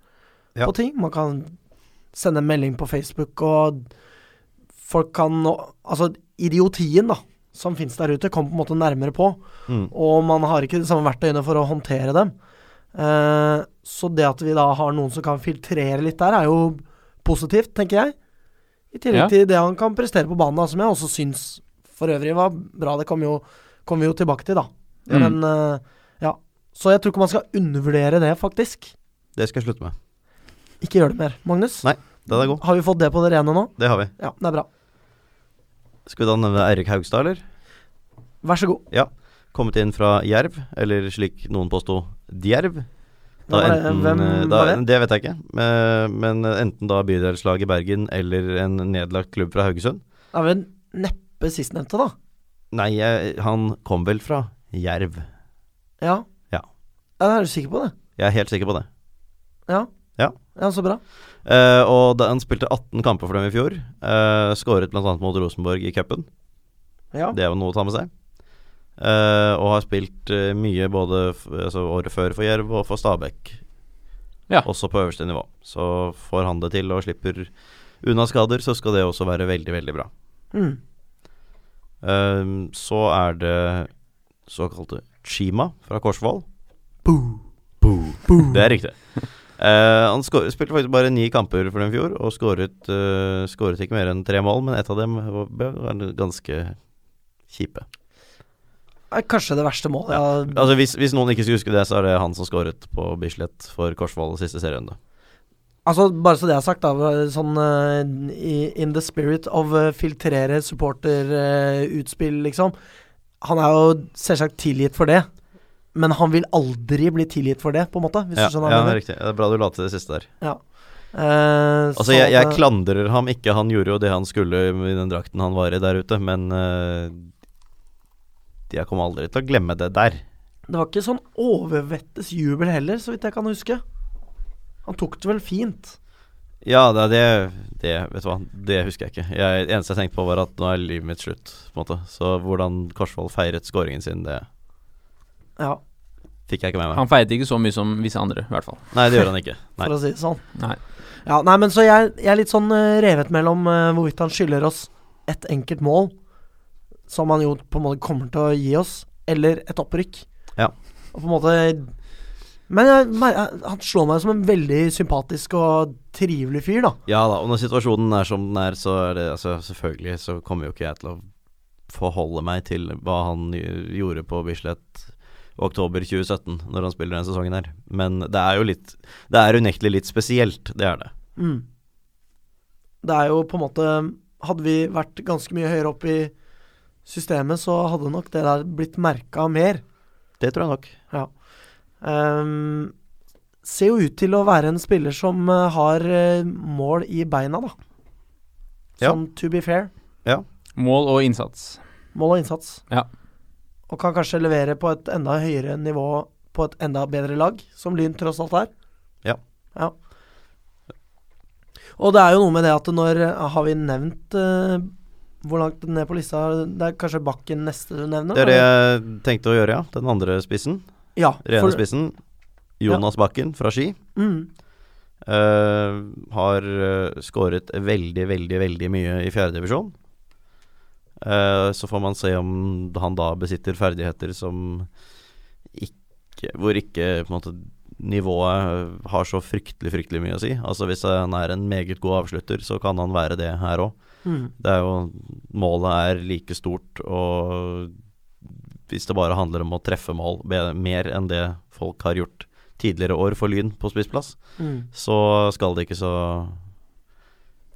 Ja.
på ting. Man kan sende en melding på Facebook, og folk kan nå- Altså, idiotien, da, som fins der ute, kommer på en måte nærmere på.
Mm.
Og man har ikke de samme verktøyene for å håndtere dem. Eh, så det at vi da har noen som kan filtrere litt der, er jo positivt, tenker jeg. I tillegg
Ja.
til det han kan prestere på banen, da, som jeg også syns for øvrig var bra. Det kommer jo, kom vi jo tilbake til, da.
Mm.
Men eh, ja. Så jeg tror ikke man skal undervurdere det, faktisk.
Det skal jeg slutte med.
Ikke gjør det mer, Magnus.
Nei, Den er god.
Har vi fått det på det rene nå?
Det har vi.
Ja, det er bra.
Skal vi da nevne Eirik Haugstad, eller?
Vær så god.
Kommet inn fra Jerv, eller slik noen påsto, Djerv. Da
Hvem var det-
enten,
hvem
eh, da,
var det?
det? vet jeg ikke, eh, men enten da bydelslag i Bergen eller en nedlagt klubb fra Haugesund.
Det er vel neppe sistnevnte, da.
Nei, jeg, han kom vel fra Jerv.
Ja.
Ja.
ja. Er du sikker på det?
Jeg er helt sikker på det.
Ja.
Ja.
ja så bra.
Eh, og da han spilte 18 kamper for dem i fjor. Uh, Skåret bl.a. mot Rosenborg i cupen.
Ja.
Det er jo noe å ta med seg. Eh, og har spilt eh, mye både f altså året før for Jerv og for Stabæk.
Ja.
Også på øverste nivå. Så får han det til og slipper unna skader, så skal det også være veldig, veldig bra.
Mm.
Eh, så er det såkalte Chima fra Korsvoll.
Boo. Boo.
Det er riktig. Eh, han skår, spilte faktisk bare ni kamper for dem i fjor, og skåret, eh, skåret ikke mer enn tre mål, men ett av dem var, var ganske kjipe.
er kanskje det verste målet. jeg har-
Altså hvis, hvis noen ikke skulle huske det, så er det han som skåret på Bislett for Korsvoll siste serierunde.
Altså, bare så det er sagt, da. Sånn eh, i, in the spirit of eh, filtrere supporterutspill, liksom. Han er jo selvsagt tilgitt for det, men han vil aldri bli tilgitt for det, på en måte. Hvis
Ja,
du skjønner hva
ja,
jeg
det er
mener.
riktig. Det er bra du la til det siste der.
Eh,
Altså
så
jeg, jeg
at, eh,
klandrer ham ikke, han gjorde jo det han skulle i den drakten han var i der ute, men eh, jeg kommer aldri til å glemme det der.
Det var ikke sånn overvettes jubel heller, så vidt jeg kan huske. Han tok det vel fint.
Ja, det, det, det vet du hva, det husker jeg ikke. Jeg, det eneste jeg tenkte på, var at nå er livet mitt slutt. På en måte. Så hvordan Korsvoll feiret skåringen sin, det
Ja,
fikk jeg ikke med meg.
Han feiret ikke så mye som visse andre, i hvert fall.
Nei, det gjør han ikke. Nei.
for å si det sånn.
Nei.
Ja, nei, men så jeg, jeg er litt sånn eh, revet mellom eh, hvorvidt han skylder oss et enkelt mål, som han jo på en måte kommer til å gi oss, eller et opprykk.
Ja.
Og på en måte Men jeg, mer- eh, han slår meg som en veldig sympatisk og trivelig fyr, da.
Ja da, og når situasjonen er som den er, så er det altså, Selvfølgelig så kommer jo ikke jeg til å forholde meg til hva han gj- gjorde på Bislett oktober 2017, når han spiller den sesongen her. Men det er jo litt Det er unektelig litt spesielt, det er det.
Mm. Det er jo på en måte Hadde vi vært ganske mye høyere opp i systemet, så hadde nok det der blitt merka mer.
Det tror jeg nok.
Ehm, ser jo ut til å være en spiller som eh, har eh, mål i beina, da.
Ja.
Sånn to be fair.
Mål og innsats.
Mål og innsats.
Ja.
Og kan kanskje levere på et enda høyere nivå på et enda bedre lag, som Lyn tross alt er.
Ja.
ja. Og det er jo noe med det at når Har vi nevnt eh, hvor langt ned på lista Det er kanskje Bakken neste du nevner?
Det er det
eller?
jeg tenkte å gjøre, ja. Den andre spissen.
Ja.
Rene
for-
spissen. Jonas Bakken fra Ski.
Mm,
eh, har eh, skåret veldig, veldig, veldig mye i fjerdedivisjon. Uh, så får man se om han da besitter ferdigheter som ikke Hvor ikke på en måte nivået har så fryktelig, fryktelig mye å si. Altså Hvis han er en meget god avslutter, så kan han være det her òg.
mm.
Det er jo Målet er like stort, og hvis det bare handler om å treffe mål be- mer enn det folk har gjort tidligere år for Lyn på spissplass,
Mm.
så skal det ikke så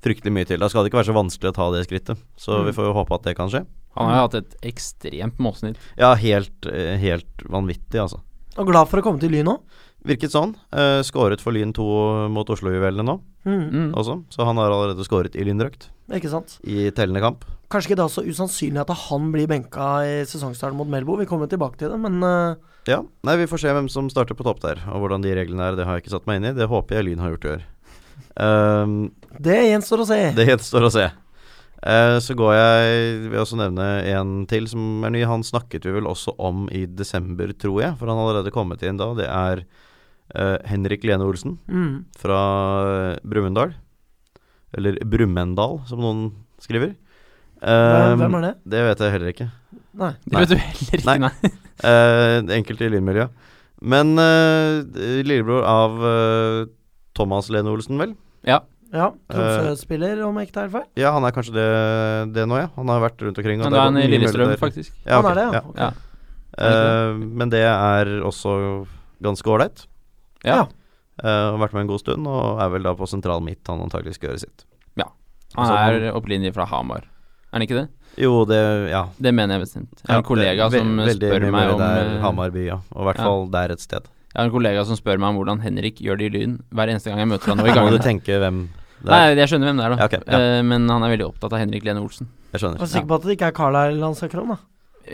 fryktelig mye til. Da skal det ikke være så vanskelig å ta det skrittet. Så
Mm.
vi får jo håpe at det kan skje.
Han
Mm.
har jo hatt et ekstremt målsnitt.
Ja, helt, eh, helt vanvittig, altså.
Og glad for å komme til Lyn nå.
Virket sånn. Eh, skåret for Lyn 2 mot Oslo-juvelene nå
Mm,
Mm.
også, så han har allerede skåret i lyndrakt
ikke sant.
i tellende kamp.
Kanskje ikke det er så usannsynlig at han blir benka i sesongstarten mot Melbo. Vi kommer tilbake til det, men eh,
Ja, nei, vi får se hvem som starter på topp der, og hvordan de reglene er. Det har jeg ikke satt meg inn i. Det håper jeg Lyn har gjort i år. Ehm,
det gjenstår å se.
det gjenstår å se. Eh, så går jeg vil også nevne en til som er ny. Han snakket vi vel også om i desember, tror jeg, for han har allerede kommet inn da. Det er eh, Henrik Lene Olsen
Mm.
fra eh, Brumunddal. Eller Brumunddal, som noen skriver. Eh, Um,
Hvem, hvem er det?
Det vet jeg heller ikke.
Nei.
Det vet du heller ikke,
Nei.
nei.
Eh, enkelte i lynmiljøet. Men eh, lillebror av eh, Thomas Lene Olsen, vel?
Ja.
Ja,
eh,
Tromsø-spiller, om jeg ikke tar helt feil.
Ja, han er kanskje det, det nå, ja. Han har vært rundt omkring. og
Men
det
da er
gått
han i
mye
Lillestrøm,
muligheter.
faktisk.
Ja,
Han er det,
ok,
ja.
ja.
Ok.
Ja.
Eh, men det er også ganske ålreit.
Ja.
Ja.
Eh, har vært med en god stund, og er vel da på sentral midt han antagelig skal gjøre sitt. Altså,
Han er opprinnelig fra Hamar. Er han ikke det?
Jo, det Ja.
Det mener jeg bestemt. Jeg har
Ja,
en kollega
ve-
som
veldig mye
spør meg
mer
om
der,
eh,
Hamar by, ja. Og i hvert
ja.
fall der et sted.
Jeg har en kollega som spør meg om hvordan Henrik gjør det i Lyn hver eneste gang jeg møter han nå i
Må du
gangen.
tenke hvem det
Nei,
er.
jeg skjønner hvem det er, da.
Ja, ok, ja.
Eh, Men han er veldig opptatt av Henrik Lene Olsen.
Jeg
Jeg skjønner.
er sikker på at det ikke er Carlisle han snakker om, da.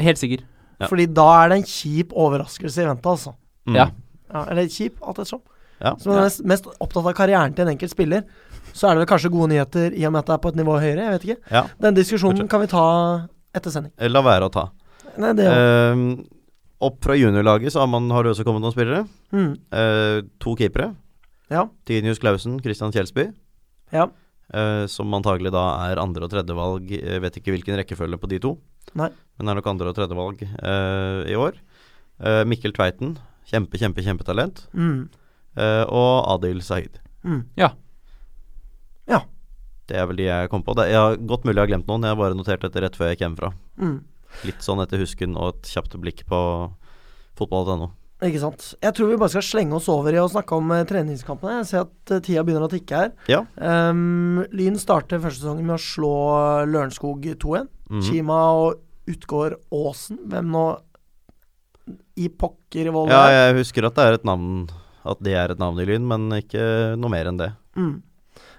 Helt sikker.
Ja.
Fordi da er det en kjip overraskelse i vente, altså.
Mm.
Ja.
Ja, eller kjip, alt ettersom.
Ja.
Som er mest, mest opptatt av karrieren til en enkelt spiller, så er det vel kanskje gode nyheter i og med at det er på et nivå høyere, jeg vet ikke.
Ja.
Den diskusjonen kan vi ta etter sending.
Eh, La være å ta.
Nei, det er jo
Ehm, opp fra juniorlaget så har, man, har det også kommet noen spillere.
mm.
Eh, to keepere.
Ja.
Tinius Clausen, Christian Kjelsby.
Ja.
eh, som antagelig da er andre- og tredjevalg. Jeg vet ikke hvilken rekkefølge på de to.
Nei.
Men er nok andre- og tredjevalg eh, i år. Eh, Mikkel Tveiten. Kjempe, kjempe, kjempetalent.
Mm.
Eh, og Adil Sahid.
Mm.
Det er vel de jeg kom på. Det, jeg har Godt mulig jeg har glemt noen. Jeg har bare notert dette rett før jeg gikk hjemmefra.
Mm.
Litt sånn etter husken og et kjapt blikk på fotball.no.
Ikke sant. Jeg tror vi bare skal slenge oss over i å snakke om eh, treningskampene. Jeg ser at eh, tida begynner å tikke her.
Ja.
Ehm, Lyn starter første sesongen med å slå Lørenskog 2-1.
Mhm.
Kima og Utgård Aasen, hvem nå i pokker i Volda?
Ja, jeg husker at det er et navn At det er et navn i Lyn, men ikke noe mer enn det.
Mm.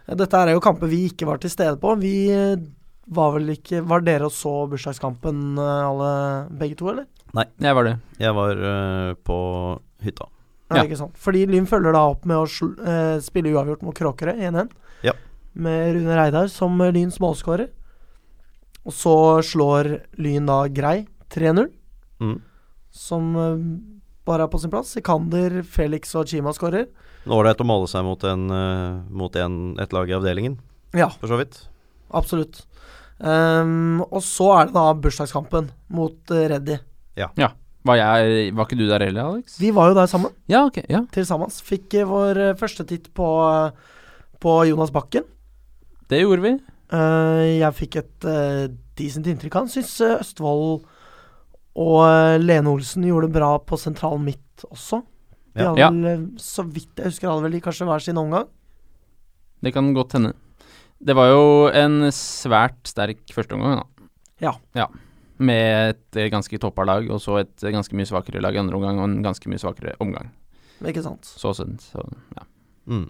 Dette er jo kamper vi ikke var til stede på. Vi eh, var vel ikke Var dere og så bursdagskampen, eh, alle begge to, eller?
Jeg var det.
Jeg var øh, på hytta.
Ja.
Ja.
Ikke sant? Fordi Lyn følger da opp med å sl eh, spille uavgjort mot Kråkerøy 1-1.
Ja.
Med Rune Reidar som eh, Lyns målskårer. Og så slår Lyn da Grei 3-0,
Mm.
som eh, bare er på sin plass. Sikander, Felix og Chima skårer.
Nå var det et å måle seg mot, en, øh, mot en, et lag i avdelingen,
Ja,
for så vidt.
absolutt. Ehm, og så er det da bursdagskampen mot eh, Reddy.
Var, jeg, var ikke du der heller, Alex?
Vi var jo der sammen.
Ja, ok. Ja.
til sammen. Fikk eh, vår eh, første titt på, eh, på Jonas Bakken.
Det gjorde vi.
Eh, jeg fikk et eh, decent inntrykk av han. Syns eh, Østfold og eh, Lene Olsen gjorde det bra på sentral midt også. De
Ja.
hadde
Ja.
vel, eh, så vidt jeg husker, hadde vel de kanskje hver sin omgang.
Det kan godt hende. Det var jo en svært sterk førsteomgang, da.
Ja.
Med et eh, ganske toppa lag, og så et eh, ganske mye svakere lag i andre omgang, og en ganske mye svakere omgang.
Ikke sant.
Så sent, så ja.
Mm.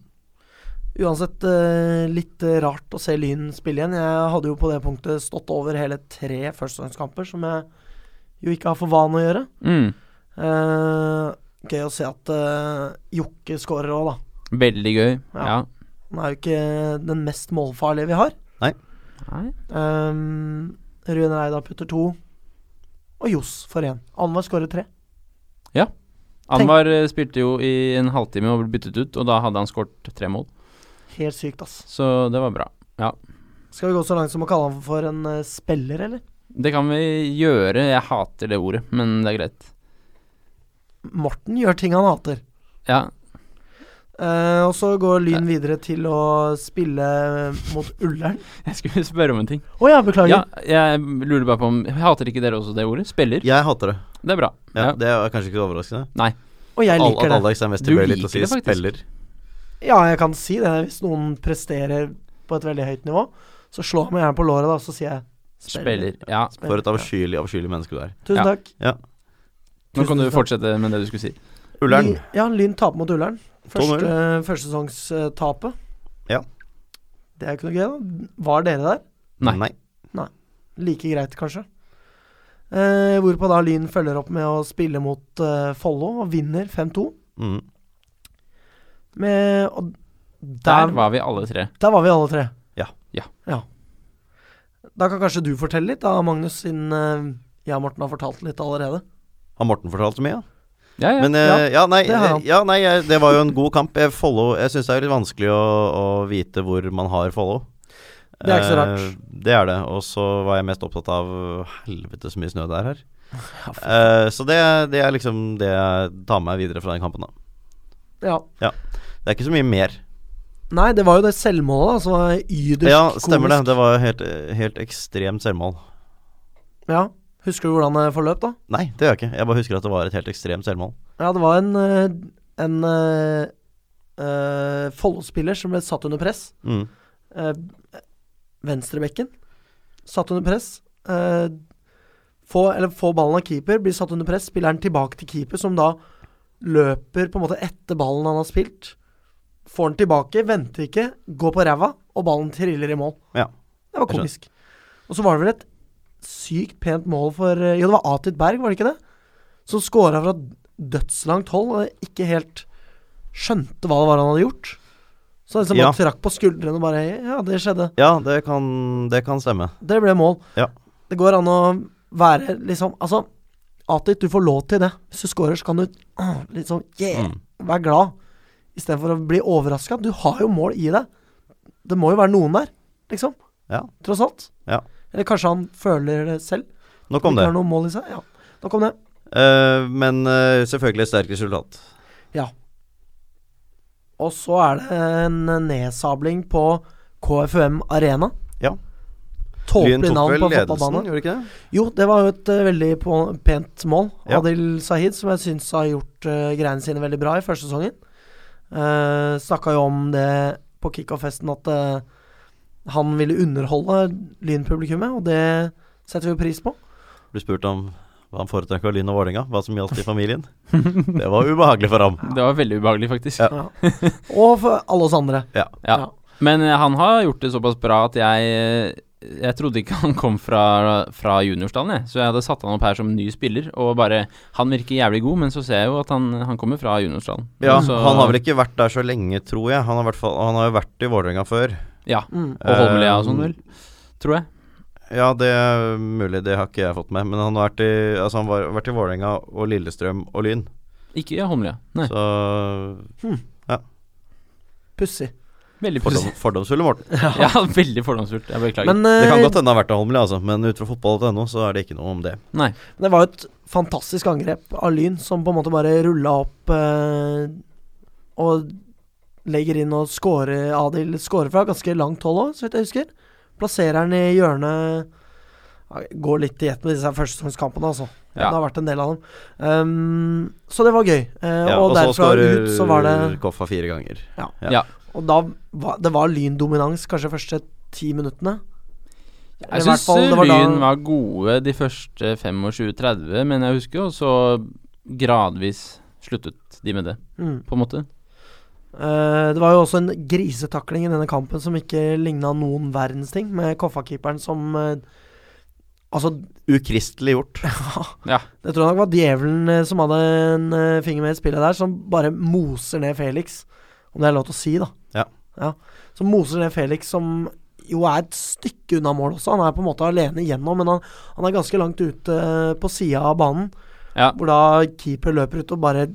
Uansett eh, litt eh, rart å se Lyn spille igjen. Jeg hadde jo på det punktet stått over hele tre førstegangskamper, som jeg jo ikke har for vane å gjøre.
Mm.
Eh, gøy å se at eh, Jokke skårer òg, da.
Veldig gøy.
Ja.
Ja.
Han er jo ikke den mest målfarlige vi har.
Nei.
Um, Rune Reidar putter to, og Johs får én. Annenhver skårer tre.
Anwar eh, spilte jo i en halvtime og ble byttet ut, og da hadde han skåret tre mål.
Helt sykt, ass.
Så det var bra.
Skal vi gå så langt som å kalle han for en eh, spiller, eller?
Det kan vi gjøre. Jeg hater det ordet, men det er greit.
Morten gjør ting han hater.
Ja.
Eh, og så går Lyn videre til å spille mot Ullern.
Jeg skulle spørre om en ting.
Å ja, beklager.
Ja, jeg lurer bare på om Hater ikke dere også det ordet? Spiller?
Jeg hater det.
Det er bra.
Ja,
Ja.
Det er kanskje ikke så overraskende.
Og jeg
Al-
liker
at
det.
Alex er mest
Du
tilbøyelig til å
liker
si
det faktisk.
spiller.
Ja, jeg kan si det. Hvis noen presterer på et veldig høyt nivå, så slår han meg gjerne på låret, da, så sier jeg
Spiller. Ja.
For et
Ja.
avskyelig, avskyelig menneske du er.
Tusen
Ja.
takk.
Ja.
Nå kan
Tusen
du
takk.
fortsette med det du skulle si.
Ullern.
Lyn- Ja, Lyn taper mot Ullern.
2-0.
Første, førstesesongstapet.
Ja.
Det er ikke noe gøy, da. Var dere der?
Nei.
Like greit, kanskje. Eh, hvorpå da Lyn følger opp med å spille mot eh, Follo og vinner 5-2.
Mm.
Med og der,
Der var vi alle tre.
der var vi alle tre.
Ja.
Ja.
Ja. Da kan kanskje du fortelle litt, da, Magnus, siden eh, jeg og Morten har fortalt litt allerede.
Har Morten fortalt så mye? Ja?
Ja, ja.
Men eh, ja, nei,
det har han.
ja, nei jeg, det var jo en god kamp. Jeg, follow, jeg syns det er litt vanskelig å, å vite hvor man har follow.
Det er ikke så
Eh, det er det. Og så var jeg mest opptatt av helvete så mye snø det er her. Eh, så det, det er liksom det jeg tar med meg videre fra den kampen, da.
Ja.
Det er ikke så mye mer.
Nei, det var jo det selvmålet da, som var yderst
ja, stemmer
komisk.
det. Det var helt, helt ekstremt selvmål.
Ja. Husker du hvordan det forløp, da?
Nei, det gjør jeg ikke. Jeg bare husker at det var et helt ekstremt selvmål.
Ja, det var en, eh, en eh, eh, Follo-spiller som ble satt under press.
Mm.
Eh, Venstrebekken. Satt under press. Eh, få, eller få ballen av keeper, blir satt under press. Spilleren tilbake til keeper, som da løper på en måte etter ballen han har spilt. Får den tilbake, venter ikke, går på ræva, og ballen triller i mål.
Ja.
Det var
Jeg skjønner.
komisk. Og så var det vel et sykt pent mål for eh, Jo, det var Atit Berg, var det ikke det? Som skåra fra dødslangt hold og ikke helt skjønte hva det var han hadde gjort. Så han liksom
Ja.
bare trakk på skuldrene og bare Ja, det skjedde.
Ja, det kan, det kan stemme.
Det ble mål.
Ja.
Det går an å være liksom Altså, Atit, du får lov til det. Hvis du scorer, så kan du ah, litt sånn Yeah!
Mm.
Vær glad. Istedenfor å bli overraska. Du har jo mål i deg. Det må jo være noen der, liksom.
Ja.
Tross alt.
Ja.
Eller kanskje han føler det selv.
Nok om
Ikke
det.
har noe mål i seg. Ja. Nok om det.
Eh, men eh, selvfølgelig et sterkt resultat.
Og så er det en nedsabling på KFUM Arena.
Ja. Lyn
Tåpelig
tok
navn
vel
på
ledelsen,
fotballbanen.
gjorde de ikke det?
Jo, det var jo et eh, veldig på, pent mål.
Ja.
Adil Sahid, som jeg syns har gjort eh, greiene sine veldig bra i første sesongen. Uh, Snakka jo om det på kickoff-festen at eh, han ville underholde Lyn-publikummet, og det setter vi jo pris på.
Ble spurt om hva han foretrekker av Lyn og Vålerenga, hva som gjaldt i familien. Det var ubehagelig for ham.
Det var veldig ubehagelig, faktisk.
Ja.
Og for alle oss andre.
Ja. Men eh, han har gjort det såpass bra at jeg eh, Jeg trodde ikke han kom fra, fra juniorstallen, jeg. Så jeg hadde satt han opp her som ny spiller, og bare Han virker jævlig god, men så ser jeg jo at han, han kommer fra juniorstallen.
Ja,
så,
Han har vel ikke vært der så lenge, tror jeg. Han har, hvert fall, han har jo vært i Vålerenga før. Eh,
Ja.
Mm.
Og Holmlia og sånn, vel. Tror jeg.
Ja, det er mulig, det har ikke jeg fått med. Men han har vært i, altså han var, vært i Vålerenga og Lillestrøm og Lyn,
Ikke ja, Holmlia. Nei.
så
Pussig.
Veldig
fordom,
fordomsfullt.
fordomsfulle Morten.
Ja, veldig fordomsfullt. Jeg beklager.
Men
Det
eh,
kan godt hende han har vært av Holmlia, altså, men ut fra fotball.no så er det ikke noe om det.
Nei.
det var jo et fantastisk angrep av Lyn, som på en måte bare rulla opp eh, og legger inn og scorer Adil scorer fra ganske langt hold òg, så vidt jeg husker. Plasserer han i hjørnet Ja, jeg Går litt i ett med disse her førstesongskampene, altså.
Ja.
Det har vært en del av dem. Um, så det var gøy. Eh,
Ja,
og,
og så
derfra ut så var det
skårer Koffa fire ganger. ja.
Ja.
Og da var det var Lyn-dominans kanskje de første ti minuttene. Eller i
Jeg
hvert
syns
fall, det var da-
Lyn var gode de første 25-30, men jeg husker jo så gradvis sluttet de med det,
Mm.
på en måte.
Eh, det var jo også en grisetakling i denne kampen som ikke ligna noen verdens ting, med Koffa-keeperen som eh, Altså,
Ukristelig gjort.
det tror jeg nok var djevelen eh, som hadde en eh, finger med i spillet der, som bare moser ned Felix. Om det er lov til å si, da.
Ja.
Som moser ned Felix, som jo er et stykke unna mål også. Han er på en måte alene igjennom, men han, han er ganske langt ute eh, på sida av banen.
Ja.
Hvor da keeper løper ut og bare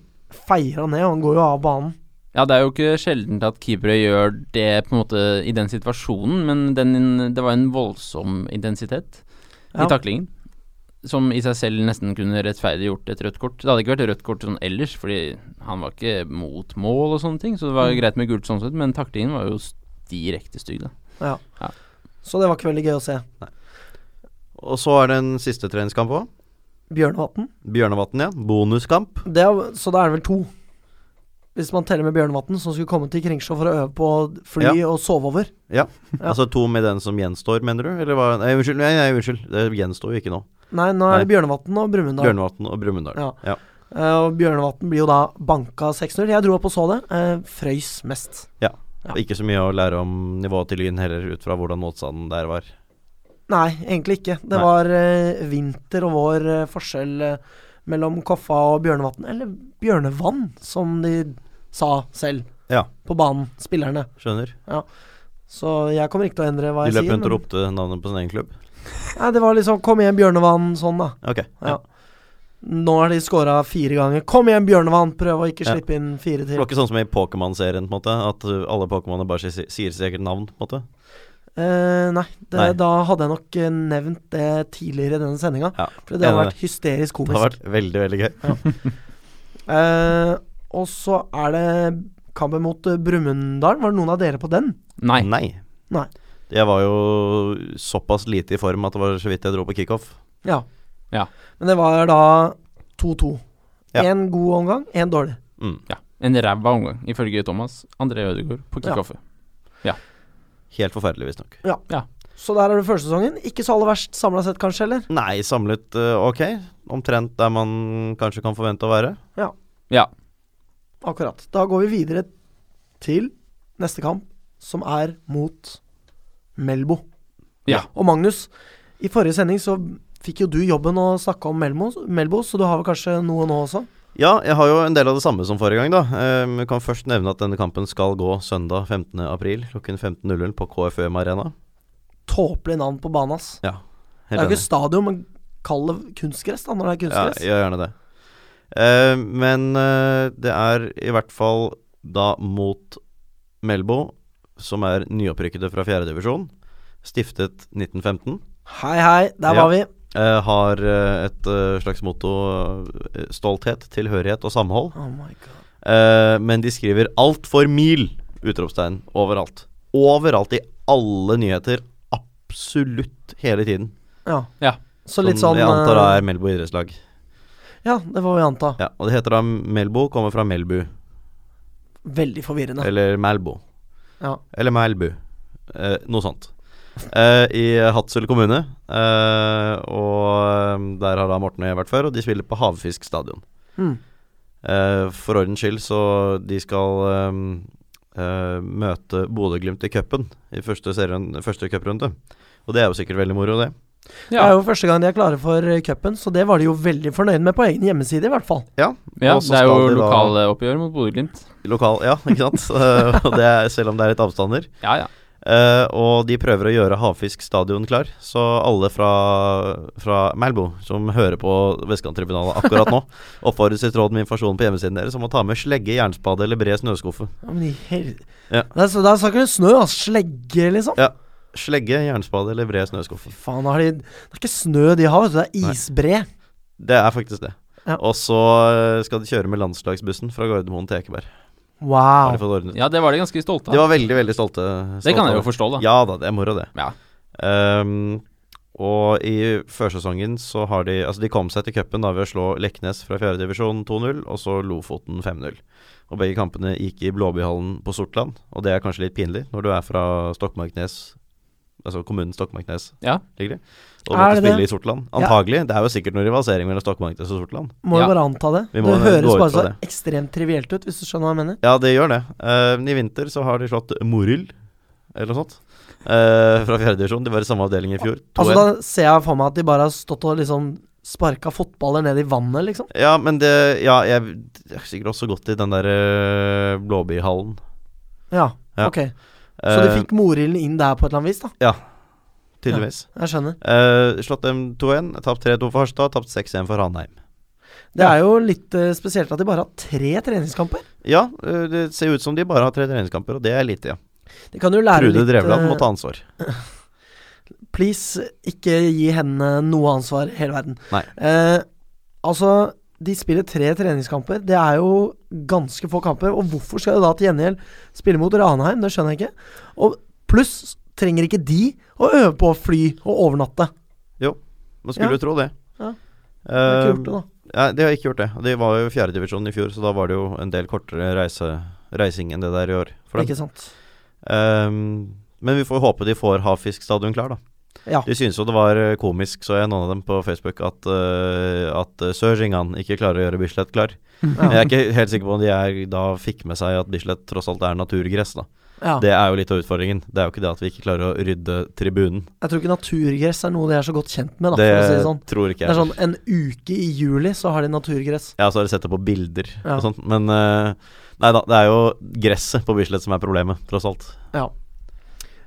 feier han ned, og han går jo av banen.
Ja, det er jo ikke sjeldent at keepere gjør det på en måte i den situasjonen, men den, det var en voldsom intensitet
Ja.
i taklingen. Som i seg selv nesten kunne rettferdiggjort et rødt kort. Det hadde ikke vært rødt kort sånn ellers, fordi han var ikke mot mål og sånne ting, så det var
Mm.
greit med gult sånn sett, men taklingen var jo s- direkte stygg, da.
Så det var ikke veldig gøy å se.
Og så er det en siste treningskamp òg.
Bjørnevatn
Bjørnevatn, ja. Bonuskamp.
Det, er- så da er det vel to. Hvis man teller med Bjørnevatn, som skulle komme til Kringsjå for å øve på fly og sove over. Ja.
Altså to med den som gjenstår, mener du? Eller hva? Nei, unnskyld, nei, nei, unnskyld. det gjenstår jo ikke nå.
Nei, nå er det Bjørnevatn og Brumunddal.
Bjørnevatn og Brumunddal.
Ja. Eh, og Bjørnevatn blir jo da banka 6-0. Jeg dro opp og så det. Eh, frøys mest. Ja.
Ikke så mye å lære om nivået til Lyn heller, ut fra hvordan motstanden der var.
Nei, egentlig ikke. Det
Nei.
var eh, vinter og vår eh, forskjell eh, mellom Koffa og Bjørnevatn. Eller Bjørnevann, som de sa selv.
Ja.
På banen, spillerne.
Skjønner.
Så jeg kommer ikke til å endre hva
De
jeg
løp
sier.
rundt og
men-
ropte navnet på sin egen klubb.
Nei, det var liksom 'kom igjen, Bjørnevann' sånn, da.
Ok.
Ja. Nå har de scora fire ganger. 'Kom igjen, Bjørnevann', prøv å ikke
Ja.
slippe inn fire
Det
til.
var ikke sånn som i Pokémon-serien, på en måte. At uh, alle Pokémonene bare si- sier sitt eget navn, på en måte.
Eh, nei, det,
Nei.
da hadde jeg nok eh, nevnt det tidligere i denne sendinga.
Ja.
For det hadde
Enig i
vært hysterisk
Det
komisk.
har vært veldig, veldig gøy.
Eh, og så er det kampen mot eh, Brumunddal. Var det noen av dere på den?
Nei.
Nei.
Jeg var jo såpass lite i form at det var så vidt jeg dro på kickoff.
Ja.
Ja.
Men det var da 2-2.
Ja.
Én god omgang, én dårlig.
Mm.
Ja. En ræva omgang, ifølge Thomas André Ødegaard på
Ja.
kickoffet.
Helt forferdelig, visstnok.
Så der har du førstesesongen. Ikke så aller verst samla sett, kanskje, eller?
Nei, samlet uh, ok. Omtrent der man kanskje kan forvente å være.
Ja.
Akkurat. Da går vi videre til neste kamp, som er mot Melbo.
Ja.
Og Magnus, i forrige sending så fikk jo du jobben å snakke om Melbo, Melbo så du har vel kanskje noe nå også?
Ja, jeg har jo en del av det samme som forrige gang, da. Um, kan først nevne at denne kampen skal gå søndag 15. april klokken 15.00 på KFUM Arena.
Tåpelig navn på banen, ass. Det
Helt
er jo
enig.
ikke stadion, men kall det kunstgress, da, når det er
Ja,
kunstgress.
gjør gjerne det. Eh, men eh, det er i hvert fall da mot Melbo, som er nyopprykkede fra fjerdedivisjon. Stiftet 1915.
Hei, hei, der
Ja.
var vi.
Eh, har eh, et eh, slags motto eh, stolthet, tilhørighet og samhold.
Oh my god.
Eh, men de skriver 'alt for mil!' utropstegn overalt. Overalt i alle nyheter. Absolutt hele tiden.
Ja.
Ja.
Så litt
som
sånn
jeg antar da
eh,
er Melbo idrettslag.
Ja, det får vi anta.
Ja, og det heter da Melbo, kommer fra Melbu.
Veldig forvirrende.
Eller Melbo.
Ja.
Eller Melbu. Eh, noe sånt. Eh, I Hadsel kommune. Eh, og eh, der har da Morten og jeg vært før, og de spiller på Havfisk stadion.
Mm.
Eh, for ordens skyld, så de skal eh, eh, møte Bodø-Glimt i cupen i første, serien, første cuprunde. Og det er jo sikkert veldig moro,
Det
det.
er
Ja,
jo første gang de er klare for eh, cupen, så det var de jo veldig fornøyd med på egen hjemmeside, i hvert fall.
ja
og så
det er jo
skal de da-
lokaloppgjør mot Bodø-Glimt.
Lokal, ja, ikke sant? Eh, og det er, selv om det er litt avstander.
Ja, ja.
Eh, og de prøver å gjøre Havfisk stadion klar, så alle fra, fra Melbo som hører på Vestkanttribunalet akkurat nå, oppfordres i tråd med informasjonen på hjemmesiden deres om å ta med slegge, jernspade eller bred snøskuffe.
Ja, men i hel...
Ja.
Der, så der snakker du snø, ass. Slegge, liksom.
Ja. Slegge, jernspade eller bred snøskuffe.
Faen, har de Det er ikke snø de har, vet du. Det
Nei.
er isbre.
Det er faktisk det.
Ja.
Og så eh, skal de kjøre med landslagsbussen fra Gardermoen til Ekeberg. Har de
Wow.
fått ordnet.
ja, det var de ganske stolte
De
av.
var veldig, veldig stolte.
Det
stolte
kan jeg
av
jo forstå, da.
Ja da, det er moro, det.
Ja.
Ehm, og i førsesongen så har de Altså, de kom seg til cupen da ved å slå Leknes fra fjerdedivisjon 2-0, og så Lofoten 5-0. Og begge kampene gikk i Blåbyhallen på Sortland, og det er kanskje litt pinlig når du er fra Stokmarknes Altså kommunen Stokmarknes
Ja.
ligger i, og
Er
måtte
det det?
spille i Sortland. Antagelig. Det er jo sikkert noe rivalisering mellom Stokmarknes og Sortland.
Må jo
Ja.
bare anta det.
Vi
Det
må gå
høres
ut
bare
fra
så ekstremt trivielt ut, hvis du skjønner hva jeg mener.
Ja, det gjør det. Eh, I vinter så har de slått Morild, eller noe sånt, eh, fra fjerdedivisjon. De var i samme avdeling i fjor. 2-1.
Altså, da ser jeg for meg at de bare har stått og liksom sparka fotballer ned i vannet, liksom.
Ja, men det Ja, jeg jeg har sikkert også gått i den der øh, Blåbyhallen.
Ja,
Ja.
ok. Så de
Eh,
fikk morilden inn der på et eller annet vis, da.
Tydeligvis.
Jeg skjønner.
Eh, slått dem 2-1. Tapt 3-2 for Harstad, tapt 6-1 for Ranheim.
Det er jo litt eh, spesielt at de bare har tre treningskamper.
Ja, øh, det ser ut som de bare har tre treningskamper, og det er lite, ja.
De kan jo lære
Trude
litt
Drevland
eh,
må ta ansvar.
Please, ikke gi henne noe ansvar i hele verden.
Nei.
Eh, altså, de spiller tre treningskamper. Det er jo ganske få kamper. Og hvorfor skal de da til gjengjeld spille mot Ranheim? Det skjønner jeg ikke. Og pluss trenger ikke de å øve på å fly og overnatte.
Man skulle
Ja.
jo tro det.
Ja. Det er
Eh,
kult, det, da.
ja, de har ikke gjort det. De var jo i fjerdedivisjon i fjor, så da var det jo en del kortere reise, reising enn det der i år. For dem. Ehm,
Ikke sant.
Eh, men vi får håpe de får Havfisk stadion klar, da.
Ja.
De synes jo det var eh, komisk, så jeg noen av dem på Facebook, at, uh, at eh, Søringan ikke klarer å gjøre Bislett klar.
Ja.
Jeg er ikke helt sikker på om de er, da fikk med seg at Bislett tross alt er naturgress, da.
Ja.
Det er jo litt av utfordringen. Det er jo ikke det at vi ikke klarer å rydde tribunen.
Jeg tror ikke naturgress er noe de er så godt kjent med, da,
det
for å si det sånn.
tror ikke
Det
jeg.
er sånn en uke i juli så har de naturgress.
Ja, så har jeg sett det på bilder
Ja.
og sånt. Men eh, nei da, det er jo gresset på Bislett som er problemet, tross alt.
Ja.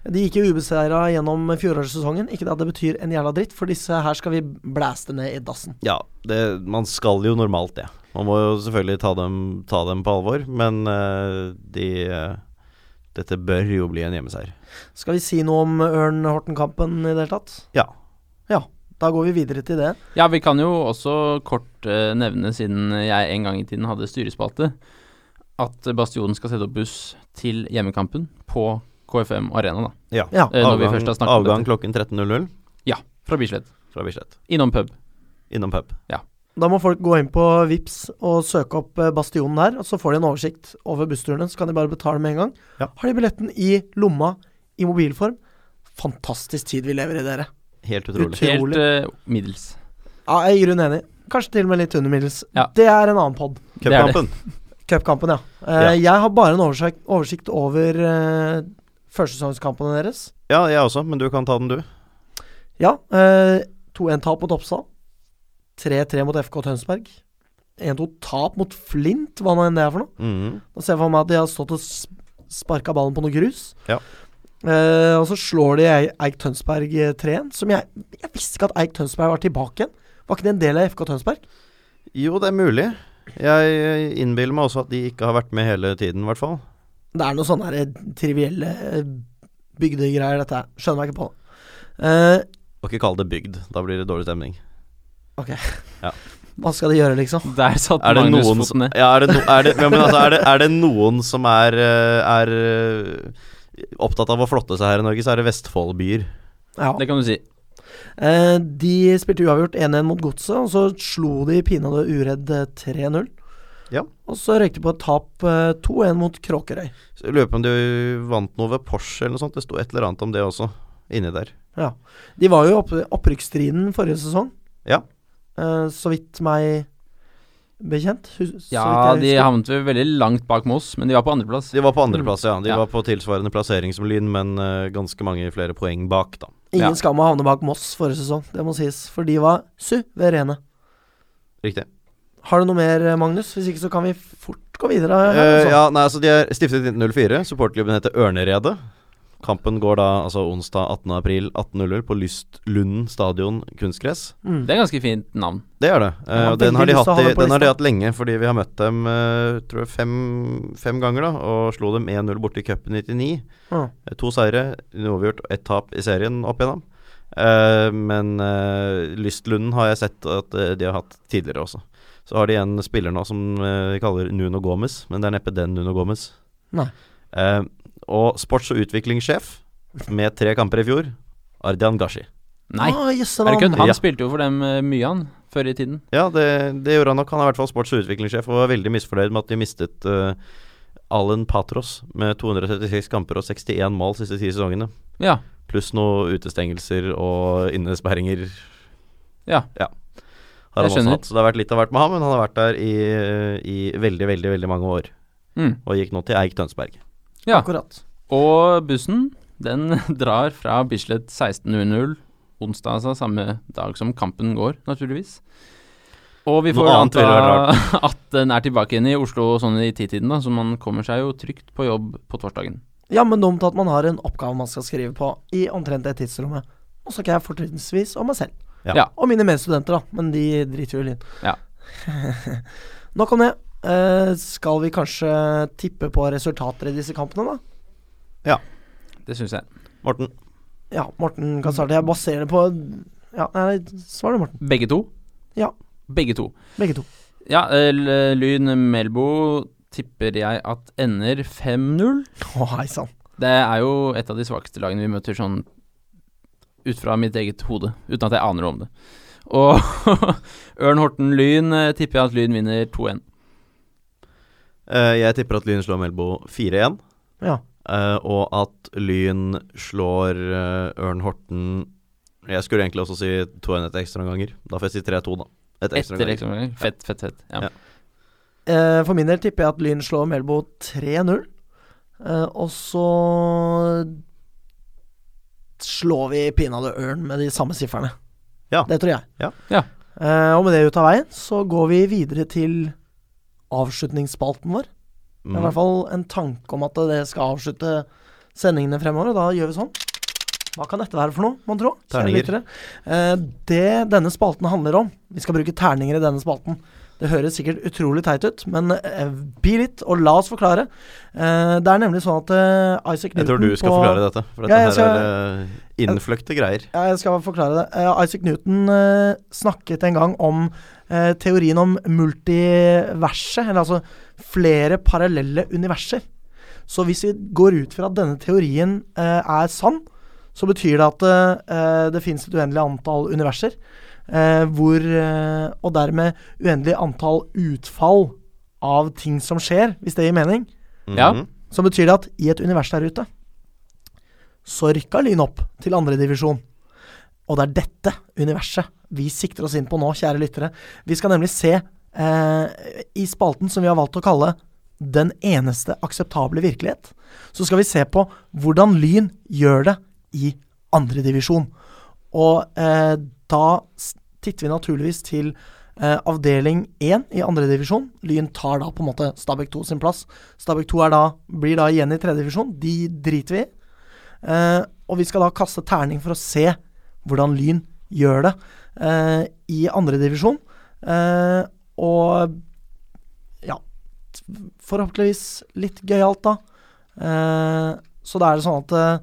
De gikk jo ubeseira gjennom fjorårssesongen. Ikke det at det betyr en jævla dritt, for disse her skal vi blæste ned i dassen.
Ja, det, man skal jo normalt det. Man må jo selvfølgelig ta dem, ta dem på alvor, men eh, de eh, Dette bør jo bli en hjemmeseier.
Skal vi si noe om Ørn-Horten-kampen i det hele tatt?
Ja.
Ja. Da går vi videre til det.
Ja, vi kan jo også kort eh, nevne, siden jeg en gang i tiden hadde styrespalte, at Bastionen skal sette opp buss til hjemmekampen på KFM Arena, da.
ja.
Ja.
Eh, når vi først har snakket om
avgang klokken 13.00
Fra Bislett.
fra Bislett.
Innom pub.
Innom pub.
Da må folk gå inn på Vips og søke opp eh, Bastionen der, og så får de en oversikt over bussturene. Så kan de bare betale med en gang.
Ja.
Har de billetten i lomma i mobilform? Fantastisk tid vi lever i, dere.
Helt utrolig.
Utrolig.
Helt eh, middels.
Ja, jeg er i grunnen enig. Kanskje til og med litt under middels.
Ja.
Det er en annen pod.
det er det.
Cupkampen.
Cupkampen, ja. Eh, Jeg har bare en oversikt, oversikt over eh, førsesongskampene deres.
Ja, jeg også, men du kan ta den, du.
Ja. eh, 2-1-tap mot Oppsal. 3-3 mot FK Tønsberg. 1-2-tap mot Flint, hva nå enn det er for noe.
Mhm.
Da ser jeg for meg at de har stått og sparka ballen på noe grus.
Ja.
Eh, og så slår de Eik Eik Tønsberg eh, 3-1, som jeg, jeg visste ikke at Eik Tønsberg var tilbake igjen. Var ikke det en del av FK Tønsberg?
Jo, det er mulig. Jeg innbiller meg også at de ikke har vært med hele tiden, i hvert fall.
Det er noen sånne her, eh, trivielle eh, bygdegreier, dette her. Skjønner meg ikke på det. Eh,
Og ikke kall det bygd. Da blir det dårlig stemning.
hva skal de gjøre, liksom?
Der satt
Er det
Magnus
noen som
foten ned.
ja, er, det no, er, det, ja, men altså, er, det, er det noen som er, eh, er eh, opptatt av å flotte seg her i Norge, så er det Vestfoldbyer.
Ja.
Det kan du si.
Eh, de spilte uavgjort 1-1 mot Godset, og så slo de pinadø uredd eh, 3-0.
Ja.
Og så røyk de på et tap eh, 2-1 mot Kråkerøy.
Så Jeg lurer på om de vant noe ved Porsche eller noe sånt. Det sto et eller annet om det også, inni der.
De var jo i opp, opprykksstriden forrige sesong,
Ja.
eh, så vidt meg bekjent. Hus, så
Ja,
vidt
de
jeg husker.
havnet vel veldig langt bak Moss, men de var på andreplass.
De var på andreplass, Mm. ja. De
Ja.
var på tilsvarende plassering som Lyn, men eh, ganske mange flere poeng bak, da.
Ingen
ja.
skam å havne bak Moss forrige sesong, det må sies. For de var suverene.
Riktig.
Har du noe mer, eh, Magnus? Hvis ikke så kan vi fort gå videre.
Eh,
eller sånn.
ja, nei, altså De er stiftet i 1904. Supporterklubben heter Ørneredet. Kampen går da altså onsdag 18. april 18.00 på Lystlunden stadion kunstgress.
Mm.
Det er ganske fint navn.
Det er det. Eh,
Jeg har
og den har,
veldig
de
lyst til å ha
hatt i,
det på
den har de
lista.
hatt lenge, fordi vi har møtt dem eh, tror jeg fem, fem ganger, da. Og slo dem 1-0 borte i cupen i 99.
Ja.
Eh, To seire, en uavgjort og ett tap i serien opp igjennom. Eh, men eh, Lystlunden har jeg sett at eh, de har hatt tidligere også. Så har de en spiller nå som eh, de kaller Nuno Gomez, men det er neppe den Nuno Gomez.
Nei.
Eh, og sports- og utviklingssjef med tre kamper i fjor, Ardian Gashi.
Nei,
Ah, jøsse
er det
navn.
kødd? Han
Ja.
spilte jo for dem eh, mye, han, før i tiden.
Ja, det, det gjorde han nok. Han er i hvert fall sports- og utviklingssjef og var veldig misfornøyd med at de mistet eh, Alan Patros med 236 kamper og 61 mål siste ti sesongene.
Ja.
Pluss noen utestengelser og innesperringer.
Ja.
Har
Jeg
han også
skjønner.
hatt. Så det har vært litt av hvert med ham, men han har vært der i, i veldig, veldig veldig mange år.
Mm.
Og gikk nå til Eik Tønsberg.
ja.
Akkurat.
Og bussen, den drar fra Bislett 16.00 onsdag, altså samme dag som kampen går, naturligvis. Og vi
Noe
får
annet ville
anta at den er tilbake igjen i Oslo sånn i titiden, da, så man kommer seg jo trygt på jobb på torsdagen.
Ja, men dumt at man har en oppgave man skal skrive på i omtrent det tidsrommet. Og så kan jeg fortrinnsvis om meg selv.
Ja.
Ja.
Og mine medstudenter, da. Men de driter jo i lyn.
Ja.
Nok om det. Eh, skal vi kanskje tippe på resultater i disse kampene, da?
Det syns jeg.
Morten.
Ja, Morten kan starte. Jeg baserer det på Ja, nei, svar det, Morten.
Begge to?
Ja.
Begge to.
Begge to.
Ja, eh, L- Lyn Melbo tipper jeg at ender 5-0.
Å, hei sann.
Det er jo et av de svakeste lagene vi møter sånn ut fra mitt eget hode, uten at jeg aner noe om det. Og Ørn Horten Lyn eh, tipper jeg at Lyn vinner 2-1.
Eh, jeg tipper at Lyn slår Melbo 4-1,
Ja.
eh, og at Lyn slår eh, Ørn Horten Jeg skulle egentlig også si 2-1 etter ekstraomganger. Da får jeg si 3-2, da. Etter
Etter
ekstraomganger.
ekstraomganger. Fett, fett, fett. Ja.
Ja.
Eh, for min del tipper jeg at Lyn slår Melbo 3-0. Eh, og så slår vi pinadø Ørn med de samme sifrene.
Ja.
Det tror jeg.
Ja.
Ja.
Eh, og med det ut av veien, så går vi videre til avslutningsspalten vår.
Mm.
Det er i hvert fall en tanke om at det skal avslutte sendingene fremover, og da gjør vi sånn. Hva kan dette være for noe, mon tro? Kjære
Terninger.
lyttere. Eh, det denne spalten handler om Vi skal bruke terninger i denne spalten. Det høres sikkert utrolig teit ut, men eh, bi litt, og la oss forklare. Eh, det er nemlig sånn at eh, Isaac Newton
Jeg tror du skal
på,
forklare dette, for dette
Ja, jeg skal-
her er eh, innfløkte greier.
Ja, jeg skal forklare det. Eh, Isaac Newton eh, snakket en gang om eh, teorien om multiverset, eller altså flere parallelle universer. Så hvis vi går ut fra at denne teorien eh, er sann, så betyr det at eh, det finnes et uendelig antall universer, eh, hvor, eh, og dermed uendelig antall utfall av ting som skjer, hvis det gir mening.
Ja.
Mhm.
Så betyr det at i et univers der ute, så rykka Lyn opp til andredivisjon. Og det er dette universet vi sikter oss inn på nå, kjære lyttere. Vi skal nemlig se eh, i spalten som vi har valgt å kalle Den eneste akseptable virkelighet. Så skal vi se på hvordan Lyn gjør det i andredivisjon. Og eh, da s- titter vi naturligvis til eh, avdeling 1 i andredivisjon. Lyn tar da på en måte Stabæk 2 sin plass. Stabæk 2 er da, blir da igjen i tredjedivisjon. De driter vi i. Eh, og vi skal da kaste terning for å se hvordan Lyn gjør det eh, i andredivisjon. Eh, og ja Forhåpentligvis litt gøyalt, da. Eh, så da er det sånn at eh,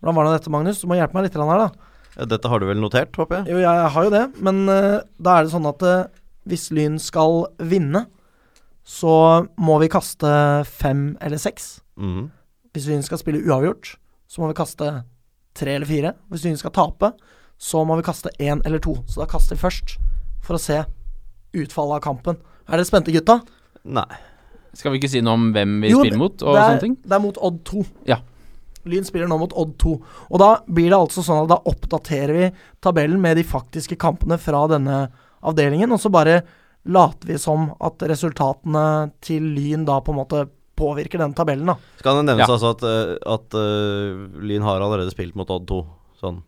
Hvordan var det dette, Magnus? Du må hjelpe meg litt grann her, da.
Dette har du vel notert, håper jeg?
Jo, jeg har jo det, men eh, da er det sånn at eh, hvis Lyn skal vinne, så må vi kaste fem eller seks.
Mhm.
Hvis Lyn skal spille uavgjort, så må vi kaste tre eller fire. Hvis Lyn skal tape, så må vi kaste én eller to. Så da kaster vi først, for å se utfallet av kampen. Er dere spente, gutta?
Nei.
Skal vi ikke si noe om hvem vi
Jo,
spiller mot, og
det,
sånne
er,
ting?
det er mot Odd 2.
Ja.
Lyn spiller nå mot Odd 2. Og da blir det altså sånn at da oppdaterer vi tabellen med de faktiske kampene fra denne avdelingen, og så bare later vi som at resultatene til Lyn da på en måte påvirker den tabellen, da.
Skal det nevnes
Ja.
altså at, eh, at eh, Lyn har allerede spilt mot Odd 2? Sånn.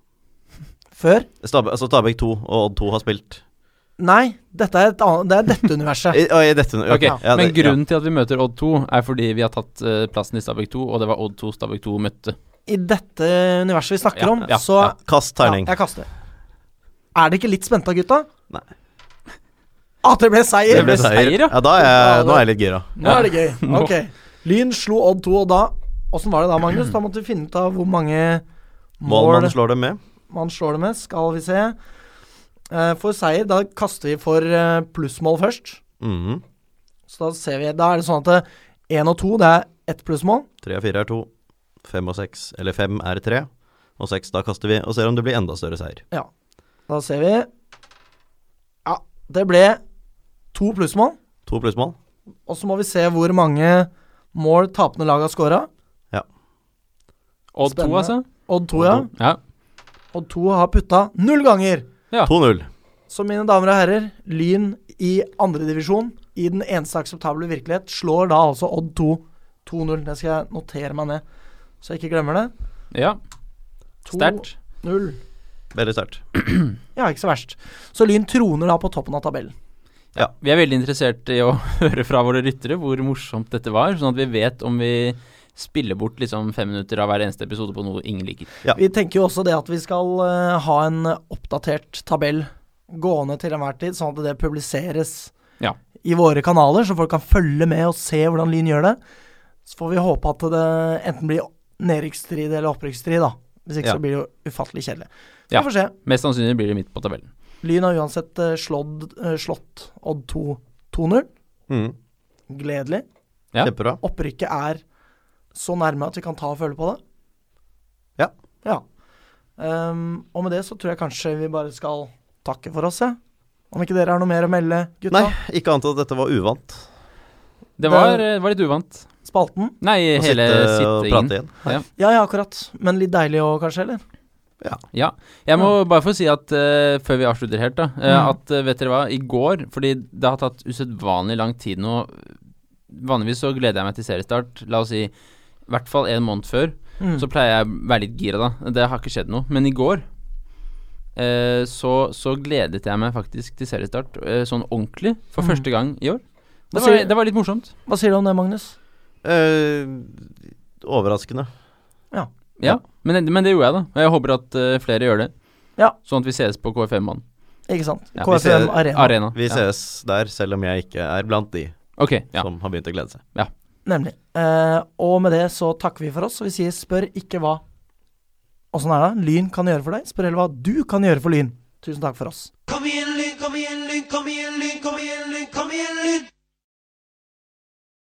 Før?
Stab altså Stabæk 2 og Odd 2 har spilt.
Nei, dette er, et annet, det er dette universet.
I, og i dette ok,
Ok,
Ja.
ja,
Men
det- ja.
grunnen til at vi møter Odd 2, er fordi vi har tatt eh, plassen i Stabæk 2, og det var Odd 2 Stabæk 2 møtte.
I dette universet vi snakker
Ja,
om,
ja,
så
ja.
Kast
ja,
terning.
Jeg kaster. Er det ikke litt spenta, gutta?
Nei.
At det ble seier!
Det ble seier, ja.
ja. da er jeg, nå er jeg litt gira.
Nå er det gøy. Ok. Lyn slo Odd 2, og da Åssen var det da, Magnus? Da måtte vi finne ut av hvor mange
Mål
mål
man slår dem med.
man slår det med. Skal vi se. Eh, For seier, da kaster vi for eh, plussmål først.
Mhm.
Så da ser vi Da er det sånn at én og to, det er ett plussmål.
Tre og fire er to. Fem og seks, eller fem er tre. Og seks, da kaster vi og ser om det blir enda større seier.
Da ser vi Ja, det ble to plussmål.
To plussmål.
Og så må vi se hvor mange mål tapende lag har scora.
Odd 2,
Spennende.
altså?
Odd 2, ja.
Ja.
Odd 2 har putta null ganger.
Ja.
2-0.
Så mine damer og herrer, Lyn i andredivisjon, i den eneste akseptable virkelighet, slår da altså Odd 2 2-0. Det skal jeg notere meg ned, så jeg ikke glemmer det.
ja. Sterkt.
2-0.
Veldig sterkt.
Ja, ikke så verst. Så Lyn troner da på toppen av tabellen.
Ja.
Vi er veldig interessert i å høre fra våre lyttere hvor morsomt dette var, sånn at vi vet om vi spiller bort liksom fem minutter av hver eneste episode på noe ingen liker.
Ja.
Vi tenker jo også det at vi skal eh, ha en oppdatert tabell gående til enhver tid, sånn at det publiseres
Ja.
i våre kanaler, så folk kan følge med og se hvordan Lyn gjør det. Så får vi håpe at det enten blir nedrykksstrid eller opprykksstrid, da. Hvis ikke
Ja.
så blir det jo ufattelig kjedelig. Vi
Ja.
får se.
Mest sannsynlig blir det midt på tabellen.
Lyn har uansett eh, slått, eh, slått Odd 2 2-0.
Mhm.
Gledelig.
Ja.
Kjempebra.
Opprykket er så nærme at vi kan ta og føle på det.
Ja.
Ja. Ehm, og med det så tror jeg kanskje vi bare skal takke for oss, jeg. Om ikke dere har noe mer å melde, gutta.
Nei, ikke annet enn at dette var uvant.
Det var, eh, var litt uvant.
Spalten.
Nei,
Å
hele
sitte og
sittingen.
prate igjen.
Ja, ja, akkurat. Men litt deilig òg, kanskje, eller?
Ja.
Jeg må bare få si at eh, før vi avslutter helt, da eh,
Mm.
At eh, vet dere hva, i går Fordi det har tatt usedvanlig lang tid nå. Vanligvis så gleder jeg meg til seriestart. La oss si i hvert fall en måned før.
Mm.
Så pleier jeg å være litt gira, da. Det har ikke skjedd noe. Men i går eh, så, så gledet jeg meg faktisk til seriestart eh, sånn ordentlig. For
Mm.
første gang i år.
Hva
Det var,
sier-
det var litt morsomt.
Hva sier du om det, Magnus?
Eh, overraskende.
Ja, men, men det gjorde jeg, da. Og jeg håper at eh, flere gjør det.
Ja.
Sånn at vi ses på KFM-banen.
Ikke sant?
Ja, vi
KFM
ser-
Arena.
Arena.
Vi
Ja.
ses der, selv om jeg ikke er blant de
Ok, ja.
som har begynt å glede seg.
Nemlig. Eh, og med det så takker vi for oss, og vi sier spør ikke hva Åssen er det? Lyn kan gjøre for deg. Spør heller hva du kan gjøre for Lyn. Tusen takk for oss.
Kom igjen, lyn, kom igjen, lyn, kom igjen, lyn, kom igjen, lyn, kom igjen, lyn.